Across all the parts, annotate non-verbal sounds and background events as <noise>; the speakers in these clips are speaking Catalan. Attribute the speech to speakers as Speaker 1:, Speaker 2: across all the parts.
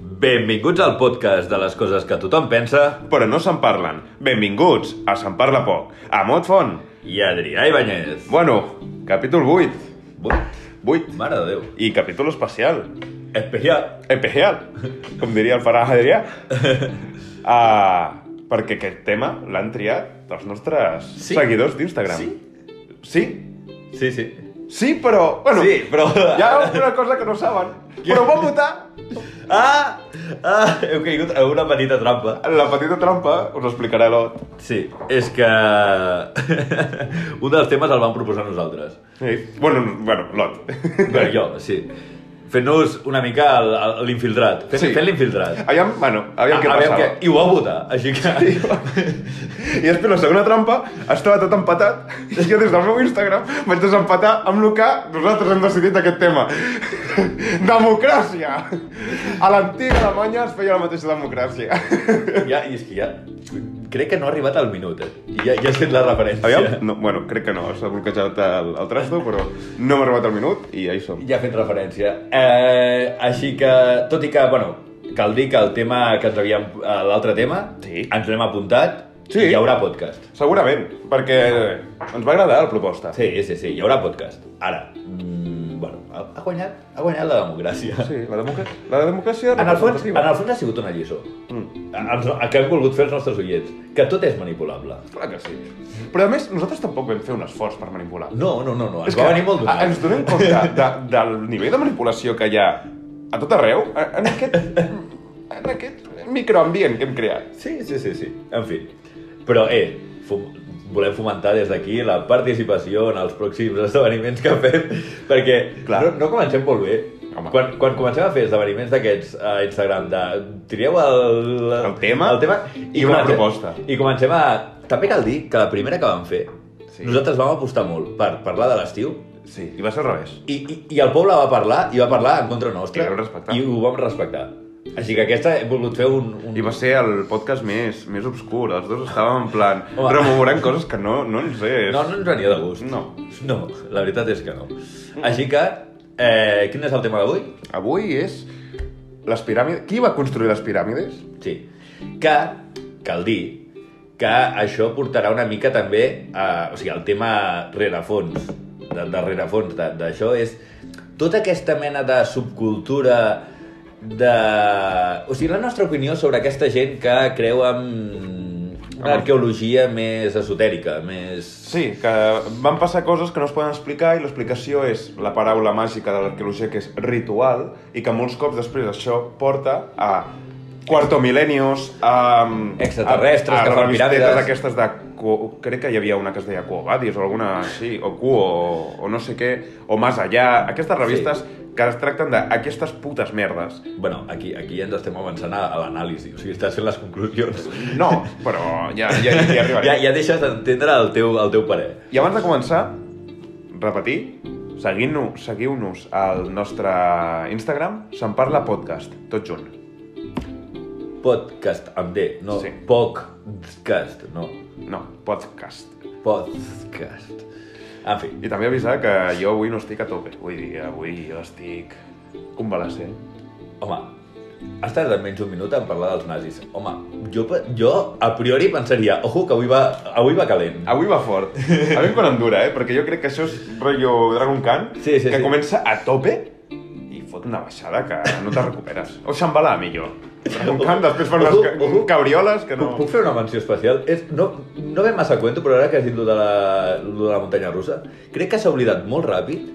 Speaker 1: Benvinguts al podcast de les coses que tothom pensa
Speaker 2: Però no se'n parlen. Benvinguts a Se'n Parla Poc, a Motfon.
Speaker 1: i Adrià Ibáñez.
Speaker 2: Bueno, capítol 8.
Speaker 1: Buit,
Speaker 2: 8.
Speaker 1: mare de Déu.
Speaker 2: I capítol especial.
Speaker 1: Especial.
Speaker 2: Especial, com diria el Farah
Speaker 1: <laughs>
Speaker 2: Adrià. Uh, perquè aquest tema l'han triat els nostres
Speaker 1: Sí?
Speaker 2: seguidors d'Instagram. Sí?
Speaker 1: Sí, sí.
Speaker 2: Sí, però... Bueno,
Speaker 1: Sí, però...
Speaker 2: <laughs> Hi ha una cosa que no
Speaker 1: <laughs>
Speaker 2: saben. Però van votar
Speaker 1: Ah! Ah! Heu caigut en una petita trampa.
Speaker 2: en la petita trampa, us ho explicarà l'Ot.
Speaker 1: Sí, és que... <laughs> un dels temes el vam proposar nosaltres.
Speaker 2: Sí. Bueno, no, bueno, l'Ot. <laughs>
Speaker 1: Però jo, sí. Fent-nos una mica el- el- l'infiltrat. Fent,
Speaker 2: Sí.
Speaker 1: fent l'infiltrat.
Speaker 2: Aviam, bueno, aviam què
Speaker 1: veure
Speaker 2: passava.
Speaker 1: I ho va votar, així que...
Speaker 2: I després la segona trampa estava tot empatat i jo des del meu Instagram vaig desempatar amb el que nosaltres hem decidit aquest tema. Democràcia! A l'antiga Alemanya es feia la mateixa democràcia.
Speaker 1: <laughs> Ja, i és que ja... Crec que no ha arribat al minut, eh? I Ja, ja has fet la referència.
Speaker 2: Aviam? No, bueno, crec que no, s'ha bloquejat el, el trasto, però no m'ha arribat el minut i ja hi som.
Speaker 1: Ja ha fet referència. Eh, així que, tot i que, bueno, cal dir que el tema que ens havíem... eh, L'altre tema,
Speaker 2: Sí.
Speaker 1: ens l'hem apuntat.
Speaker 2: Sí.
Speaker 1: i Hi haurà podcast.
Speaker 2: Segurament, perquè ens va agradar la proposta.
Speaker 1: Sí, sí, sí, hi haurà podcast. Ara, mm, bueno, ha, ha guanyat, ha guanyat la democràcia.
Speaker 2: Sí, la, democràcia, la democràcia...
Speaker 1: En el, fons, en
Speaker 2: representativa.
Speaker 1: el fons ha sigut una lliçó.
Speaker 2: Mm.
Speaker 1: A- Ens, a que hem volgut fer els nostres oients. Que tot és manipulable.
Speaker 2: Clar que sí. Però a més, nosaltres tampoc vam fer un esforç per manipular.
Speaker 1: No, no, no, no. Ens va venir molt
Speaker 2: a-
Speaker 1: donat.
Speaker 2: ens donem compte de, del nivell de manipulació que hi ha a tot arreu, a- en aquest, en aquest microambient que hem creat.
Speaker 1: Sí, sí, sí, sí. En fi. Però, eh, fum... volem fomentar des d'aquí la participació en els pròxims esdeveniments que fem, <laughs> perquè
Speaker 2: Clar.
Speaker 1: No, no comencem molt bé.
Speaker 2: Home.
Speaker 1: Quan, quan comencem a fer esdeveniments d'aquests a Instagram, de trieu el,
Speaker 2: El tema
Speaker 1: el tema
Speaker 2: i una proposta.
Speaker 1: I comencem a... També cal dir que la primera que vam fer, sí.
Speaker 2: Sí.
Speaker 1: nosaltres vam apostar molt per parlar de l'estiu,
Speaker 2: Sí, i va ser al revés.
Speaker 1: i, i, i el poble va parlar, i va parlar en contra nostra.
Speaker 2: I vam respectar.
Speaker 1: I ho vam respectar. Així que aquesta he volgut fer un... un...
Speaker 2: I va ser el podcast més, més obscur. Els dos estàvem en plan
Speaker 1: Home.
Speaker 2: rememorant coses que no, no ens és.
Speaker 1: No, no ens venia de gust.
Speaker 2: No.
Speaker 1: No, la veritat és que no. Així que, eh, quin és el tema d'avui?
Speaker 2: Avui és les piràmides... Qui va construir les piràmides?
Speaker 1: Sí. Que, cal dir, que això portarà una mica també a... O sigui, el tema rerefons, del de rerefons de- d'això és tota aquesta mena de subcultura de... O sigui, la nostra opinió sobre aquesta gent que creu en una
Speaker 2: Home.
Speaker 1: arqueologia més esotèrica, més...
Speaker 2: Sí, que van passar coses que no es poden explicar i l'explicació és la paraula màgica de l'arqueologia que és ritual i que molts cops després això porta a quarto milenios, a...
Speaker 1: Extraterrestres
Speaker 2: a, a
Speaker 1: que fan
Speaker 2: revistetes
Speaker 1: piràmides.
Speaker 2: aquestes de... Cuo- Crec que hi havia una que es deia Cuobadis o alguna així, o Cuo, o, o no sé què, o Más Allá, aquestes revistes que es tracten d'aquestes putes merdes.
Speaker 1: Bueno, aquí, aquí ja ens estem avançant a, a l'anàlisi, o sigui, estàs fent les conclusions.
Speaker 2: No, però ja, ja, ja hi arribarem.
Speaker 1: Ja, ja deixes d'entendre el teu, el teu parer.
Speaker 2: I abans de començar, repetir, seguint-nos, seguiu-nos al nostre Instagram, se'n parla podcast, tot junt.
Speaker 1: Podcast amb D, no
Speaker 2: Sí.
Speaker 1: sí. podcast, no
Speaker 2: No, podcast.
Speaker 1: podcast. En fi,
Speaker 2: I també avisar que jo avui no estic a tope. Vull dir, avui jo estic convalescent.
Speaker 1: home, has tardat menys un minut en parlar dels nazis. Home, jo, pe- jo a priori pensaria, ojo, que avui va, avui va calent.
Speaker 2: Avui va fort.
Speaker 1: <laughs>
Speaker 2: A mi quan em dura, eh? Perquè jo crec que això és rotllo Dragon Khan,
Speaker 1: Sí, sí,
Speaker 2: que
Speaker 1: sí.
Speaker 2: comença a tope i fot una baixada que no te recuperes. O Shambhala, millor. Dragon Khan, després fan unes ca- cabrioles que no...
Speaker 1: Puc fer una menció especial? És, no, no ve massa a cuento, però ara que has dit lo de la, lo de la muntanya russa, crec que s'ha oblidat molt ràpid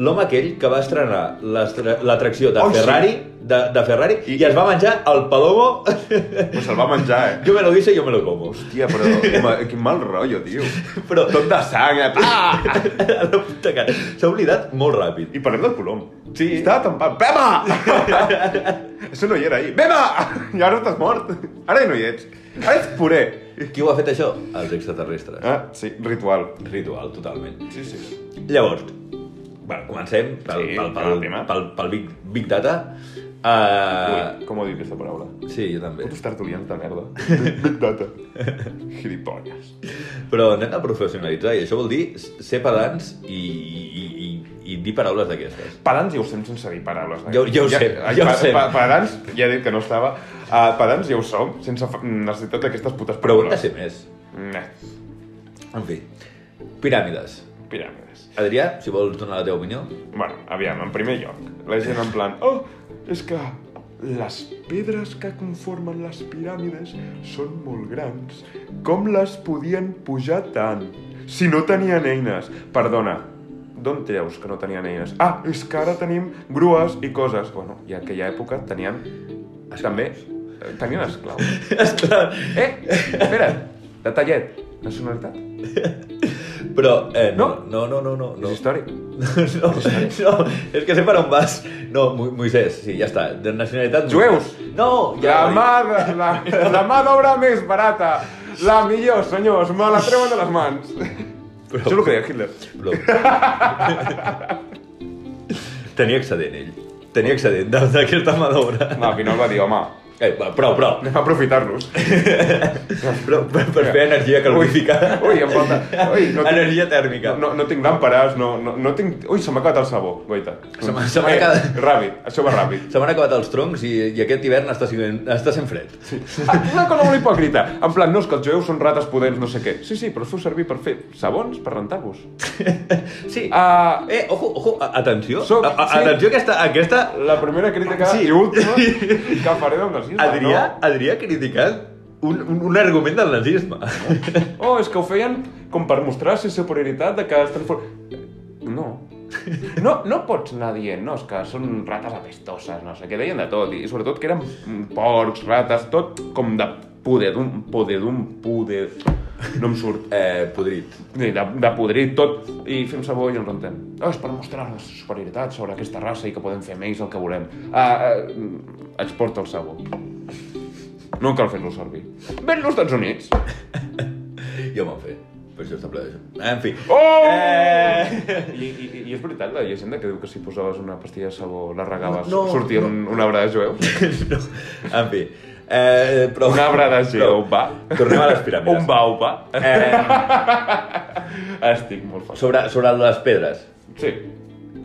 Speaker 1: l'home aquell que va estrenar l'estre- l'atracció de,
Speaker 2: Oh,
Speaker 1: oh,
Speaker 2: sí.
Speaker 1: Ferrari, de, de Ferrari
Speaker 2: I-
Speaker 1: i, es va menjar el
Speaker 2: <laughs>
Speaker 1: palomo
Speaker 2: Pues se'l va menjar, eh?
Speaker 1: jo me lo guiso i jo me lo como. <laughs>
Speaker 2: Hòstia, però ma, quin mal rotllo, tio.
Speaker 1: Però
Speaker 2: Tot de sang, eh? Ah!
Speaker 1: la puta cara, s'ha oblidat molt ràpid.
Speaker 2: I parlem del colom. Sí. Estava tampat. Bema! <laughs> Això no hi era ahir. Bema! I ara estàs mort. Ara ja no hi ets. Ara ets puré.
Speaker 1: Qui ho ha fet això? Els extraterrestres.
Speaker 2: Ah, sí, ritual.
Speaker 1: Ritual, totalment.
Speaker 2: Sí, sí.
Speaker 1: Llavors, bueno, comencem pel,
Speaker 2: Sí,
Speaker 1: pel,
Speaker 2: pel
Speaker 1: pel, pel,
Speaker 2: tema.
Speaker 1: pel, Big, Big Data. Uh,
Speaker 2: Ui, com ho dic aquesta paraula?
Speaker 1: sí, jo també.
Speaker 2: Putos tertulians de merda. Big data. Gilipolles.
Speaker 1: Però anem a professionalitzar i això vol dir ser pedants i, i, i, i dir paraules d'aquestes.
Speaker 2: Pedants ja ho estem sense dir paraules.
Speaker 1: Ja ho- ja ho sé, ja ho sé.
Speaker 2: Pedants, ja he dit que no estava. Uh, pedants ja ho som, sense fa- necessitat d'aquestes putes
Speaker 1: Pregunta ser més.
Speaker 2: Nah,
Speaker 1: En fi. Piràmides.
Speaker 2: piràmides.
Speaker 1: Adrià, si vols donar la teva opinió.
Speaker 2: Bueno, aviam, en primer lloc, la gent en plan, oh, és que les pedres que conformen les piràmides són molt grans. Com les podien pujar tant? Si no tenien eines. Perdona, d'on treus que no tenien eines? Ah, és que ara tenim grues i coses. Bueno, i en aquella època tenien... També eh, tenien esclaus.
Speaker 1: Esclar.
Speaker 2: Eh, espera, detallet. Nacionalitat?
Speaker 1: Però, eh, no,
Speaker 2: No.
Speaker 1: no, no, no, no. no.
Speaker 2: És històric.
Speaker 1: <laughs> No, no, és que sé per on vas. No, Mo- Moisès, sí, ja està. De nacionalitat...
Speaker 2: Jueus.
Speaker 1: No, ja
Speaker 2: La
Speaker 1: ho he dit.
Speaker 2: mà, de- la, la mà d'obra més barata. La millor, senyors. Me la treuen de les mans.
Speaker 1: Però-
Speaker 2: Això és el que deia Hitler.
Speaker 1: Però... <laughs> Tenia excedent, ell. Tenia excedent de- d'aquesta mà d'obra.
Speaker 2: No, al final va dir, home,
Speaker 1: Eh, va, prou, prou.
Speaker 2: anem a aprofitar-los.
Speaker 1: Però per, per fer energia calorificada.
Speaker 2: Ui, ui, em falta... Ui, no tinc,
Speaker 1: energia tèrmica.
Speaker 2: no, no tinc làmperes, no, no, no tinc... Ui, se m'ha acabat el sabó, guaita. Eh,
Speaker 1: Se m'ha- se m'ha acabat.
Speaker 2: Ràpid, això va ràpid.
Speaker 1: Se m'han acabat els troncs i, i aquest hivern està, sent- està sent fred. Sí.
Speaker 2: Ah, una cosa molt hipòcrita. En plan, no, és que els jueus són rates pudents, no sé què. Sí, sí, però els feu servir per fer sabons per rentar-vos.
Speaker 1: sí.
Speaker 2: Ah,
Speaker 1: Eh, ojo, ojo, a- atenció.
Speaker 2: Soc-
Speaker 1: a, a,
Speaker 2: sí.
Speaker 1: Atenció a aquesta, a aquesta
Speaker 2: la primera crítica
Speaker 1: Sí.
Speaker 2: i última que faré del nazisme,
Speaker 1: Adrià,
Speaker 2: no?
Speaker 1: Adrià criticant un, un, un argument del nazisme.
Speaker 2: Oh, és que ho feien com per mostrar la superioritat de que estan... For... No. No, no pots anar dient, no, és que són rates apestoses, no sé què, deien de tot, i sobretot que eren porcs, rates, tot com de poder d'un, poder d'un, poder... No em
Speaker 1: <laughs>
Speaker 2: surt.
Speaker 1: Eh, podrit.
Speaker 2: Ni De, de podrir tot i fem sabó i ens rentem. Oh, és per mostrar la nostra superioritat sobre aquesta raça i que podem fer més el que volem. Ah, ah, exporta el sabó. No cal fer-lo servir. Ven-lo als Estats Units.
Speaker 1: Jo me'n fer. Per això està ple d'això. En fi.
Speaker 2: Oh!
Speaker 1: Eh... <laughs>
Speaker 2: I, i, I és veritat la llegenda que diu que si posaves una pastilla de sabó, la regaves,
Speaker 1: No,
Speaker 2: no,
Speaker 1: no,
Speaker 2: sortia
Speaker 1: no.
Speaker 2: no. Un, un arbre de jueu?
Speaker 1: No. En fi. Eh, però...
Speaker 2: Un arbre de jueu,
Speaker 1: Però-
Speaker 2: va.
Speaker 1: Tornem a les piràmides.
Speaker 2: Un bau, va.
Speaker 1: Eh,
Speaker 2: Eh. Estic molt fàcil.
Speaker 1: sobre, sobre les pedres.
Speaker 2: Sí.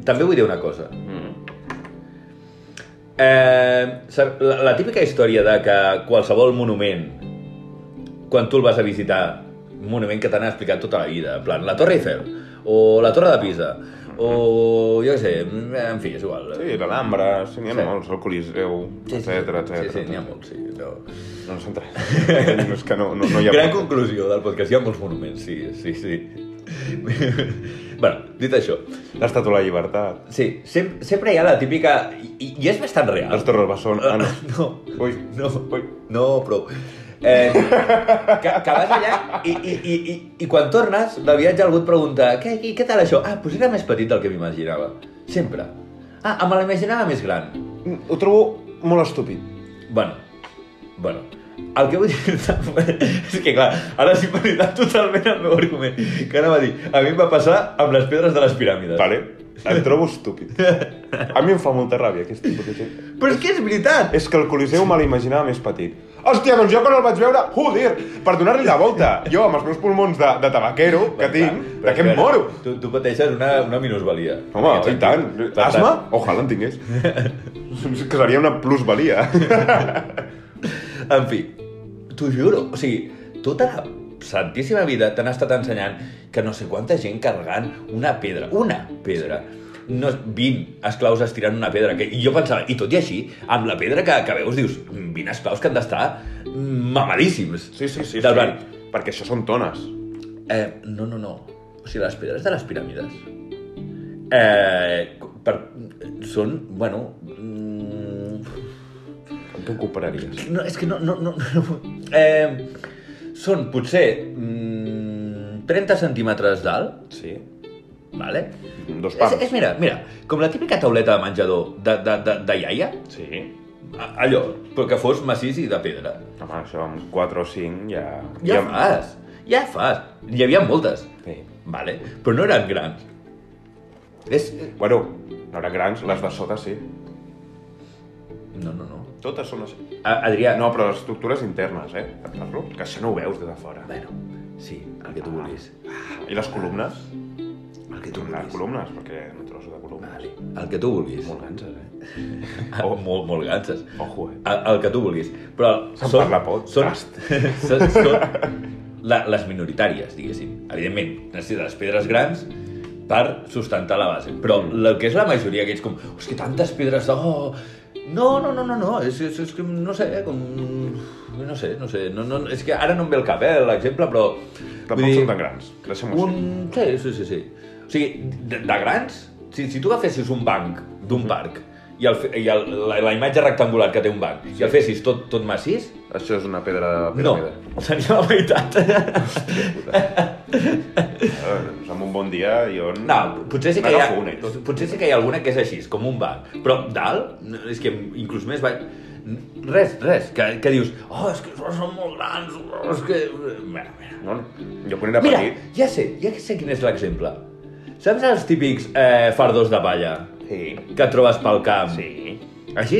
Speaker 1: També vull dir una cosa.
Speaker 2: Mm.
Speaker 1: Eh, sa- la, la típica història de que qualsevol monument, quan tu el vas a visitar, un monument que t'han explicat tota la vida, en plan, la Torre Eiffel, o la Torre de Pisa, o jo què sé, en fi, és igual.
Speaker 2: Sí, l'Alhambra, sí, n'hi ha
Speaker 1: Sí.
Speaker 2: molts, el Coliseu, etcètera, etcètera.
Speaker 1: Sí, sí, n'hi ha
Speaker 2: etcètera.
Speaker 1: molts, sí. No.
Speaker 2: No ens entrem. és que <laughs> no, no, no hi ha...
Speaker 1: Gran conclusió del podcast, hi ha molts monuments, sí, sí, sí. <laughs> bueno, dit això,
Speaker 2: L'Estatua de la Llibertat.
Speaker 1: sí, sempre, sempre hi ha la típica... I, i és bastant real.
Speaker 2: Les Torres Besson. Ah, no.
Speaker 1: <laughs> no.
Speaker 2: Ui.
Speaker 1: No, no, però... Eh, que, que vas allà i, i, i, i, i quan tornes del viatge algú et pregunta què, què, què tal això? Ah, doncs era més petit del que m'imaginava. Sempre. Ah, me l'imaginava més gran.
Speaker 2: Ho trobo molt estúpid.
Speaker 1: Bueno, bueno. El que vull dir <laughs> és que, clar, ara sí validar totalment el meu argument. Que anava a dir, a mi em va passar amb les pedres de les piràmides.
Speaker 2: Vale, em trobo <laughs> estúpid. A mi em fa molta ràbia aquest tipus de gent.
Speaker 1: Però és que és veritat!
Speaker 2: És que el Coliseu me l'imaginava més petit. Hòstia, doncs jo quan el vaig veure, joder, per donar-li la volta, <laughs> jo amb els meus pulmons de, de tabaquero que tinc,
Speaker 1: Però
Speaker 2: de què em
Speaker 1: espera,
Speaker 2: moro?
Speaker 1: Tu, tu pateixes una, una minusvalia.
Speaker 2: Home,
Speaker 1: En aquest
Speaker 2: i tant.
Speaker 1: sentit. Per
Speaker 2: Asma?
Speaker 1: tant,
Speaker 2: Ojalà en tingués. <laughs> que seria una plusvalia.
Speaker 1: En fi, t'ho juro, o sigui, tota la santíssima vida t'han estat ensenyant que no sé quanta gent carregant una pedra, una pedra, no, 20 esclaus estirant una pedra, que i jo pensava, i tot i així, amb la pedra que, que veus, dius, "Mm, 20 esclaus que han d'estar mamadíssims.
Speaker 2: Sí, sí, sí.
Speaker 1: Del
Speaker 2: sí.
Speaker 1: blanc.
Speaker 2: Perquè això són tones.
Speaker 1: Eh, no, no, no. O sigui, les pedres de les piràmides eh, per, són, bueno... Mm,
Speaker 2: Com tu ho compararies?
Speaker 1: No, és que no... no, no, no. Eh, són potser mm, 30 centímetres d'alt,
Speaker 2: Sí.
Speaker 1: vale?
Speaker 2: Dos
Speaker 1: És,
Speaker 2: pams.
Speaker 1: és, mira, mira, com la típica tauleta de menjador de, de, de, de iaia,
Speaker 2: Sí.
Speaker 1: a- allò, però que fos massís i de pedra.
Speaker 2: Home, això amb 4 o 5 ja...
Speaker 1: Ja fas, ja fas. Hi havia moltes,
Speaker 2: Sí.
Speaker 1: vale? però no eren grans. És...
Speaker 2: Bueno, no eren grans, les de sota sí.
Speaker 1: No, no, no.
Speaker 2: Totes són així.
Speaker 1: A, Adrià,
Speaker 2: No, però les estructures internes, eh? Et parlo. Que això no ho veus des de fora.
Speaker 1: Bueno, sí, el que tu vulguis.
Speaker 2: I les columnes?
Speaker 1: El que tu
Speaker 2: Les
Speaker 1: vulguis.
Speaker 2: columnes, perquè no tros. cosa de volum.
Speaker 1: Vale. El que tu vulguis.
Speaker 2: Molt ganses, eh?
Speaker 1: Oh, <laughs> molt, molt ganses.
Speaker 2: Ojo, eh?
Speaker 1: El, el que tu vulguis. Però
Speaker 2: Se'n parla pot,
Speaker 1: són, <laughs>
Speaker 2: tast.
Speaker 1: són, són la, les minoritàries, diguéssim. Evidentment, necessites les pedres grans per sustentar la base. Però el que és la majoria, que ets com... "Oh, És que tantes pedres... Oh, no, no, no, no, no, és, és, és que no sé, com... No sé, no sé, no, no, és que ara no em ve el cap, eh, l'exemple, però...
Speaker 2: Tampoc
Speaker 1: vull dir-
Speaker 2: són tan grans. Deixem-ho així.
Speaker 1: un... Sí, sí, sí, sí. O sigui, de, de grans, si, si tu agafessis un banc d'un parc i, el, fe- i el, la, la imatge rectangular que té un banc i el fessis tot, tot massís,
Speaker 2: Això és una pedra de
Speaker 1: no, <laughs>
Speaker 2: piràmide.
Speaker 1: seria la meitat.
Speaker 2: Eh, amb un bon dia i on...
Speaker 1: No, potser sí que hi ha,
Speaker 2: N'agafo una i tot.
Speaker 1: potser sí que hi ha alguna que és així, és com un banc. Però dalt, no, és que inclús més baix... Res, res, que, que dius, oh, és que són molt grans, oh, és que... Mira, mira.
Speaker 2: No, jo quan era
Speaker 1: Mira,
Speaker 2: petit...
Speaker 1: ja sé, ja sé quin és l'exemple. Saps els típics eh, fardos de palla
Speaker 2: Sí.
Speaker 1: que et trobes pel camp?
Speaker 2: Sí.
Speaker 1: Així?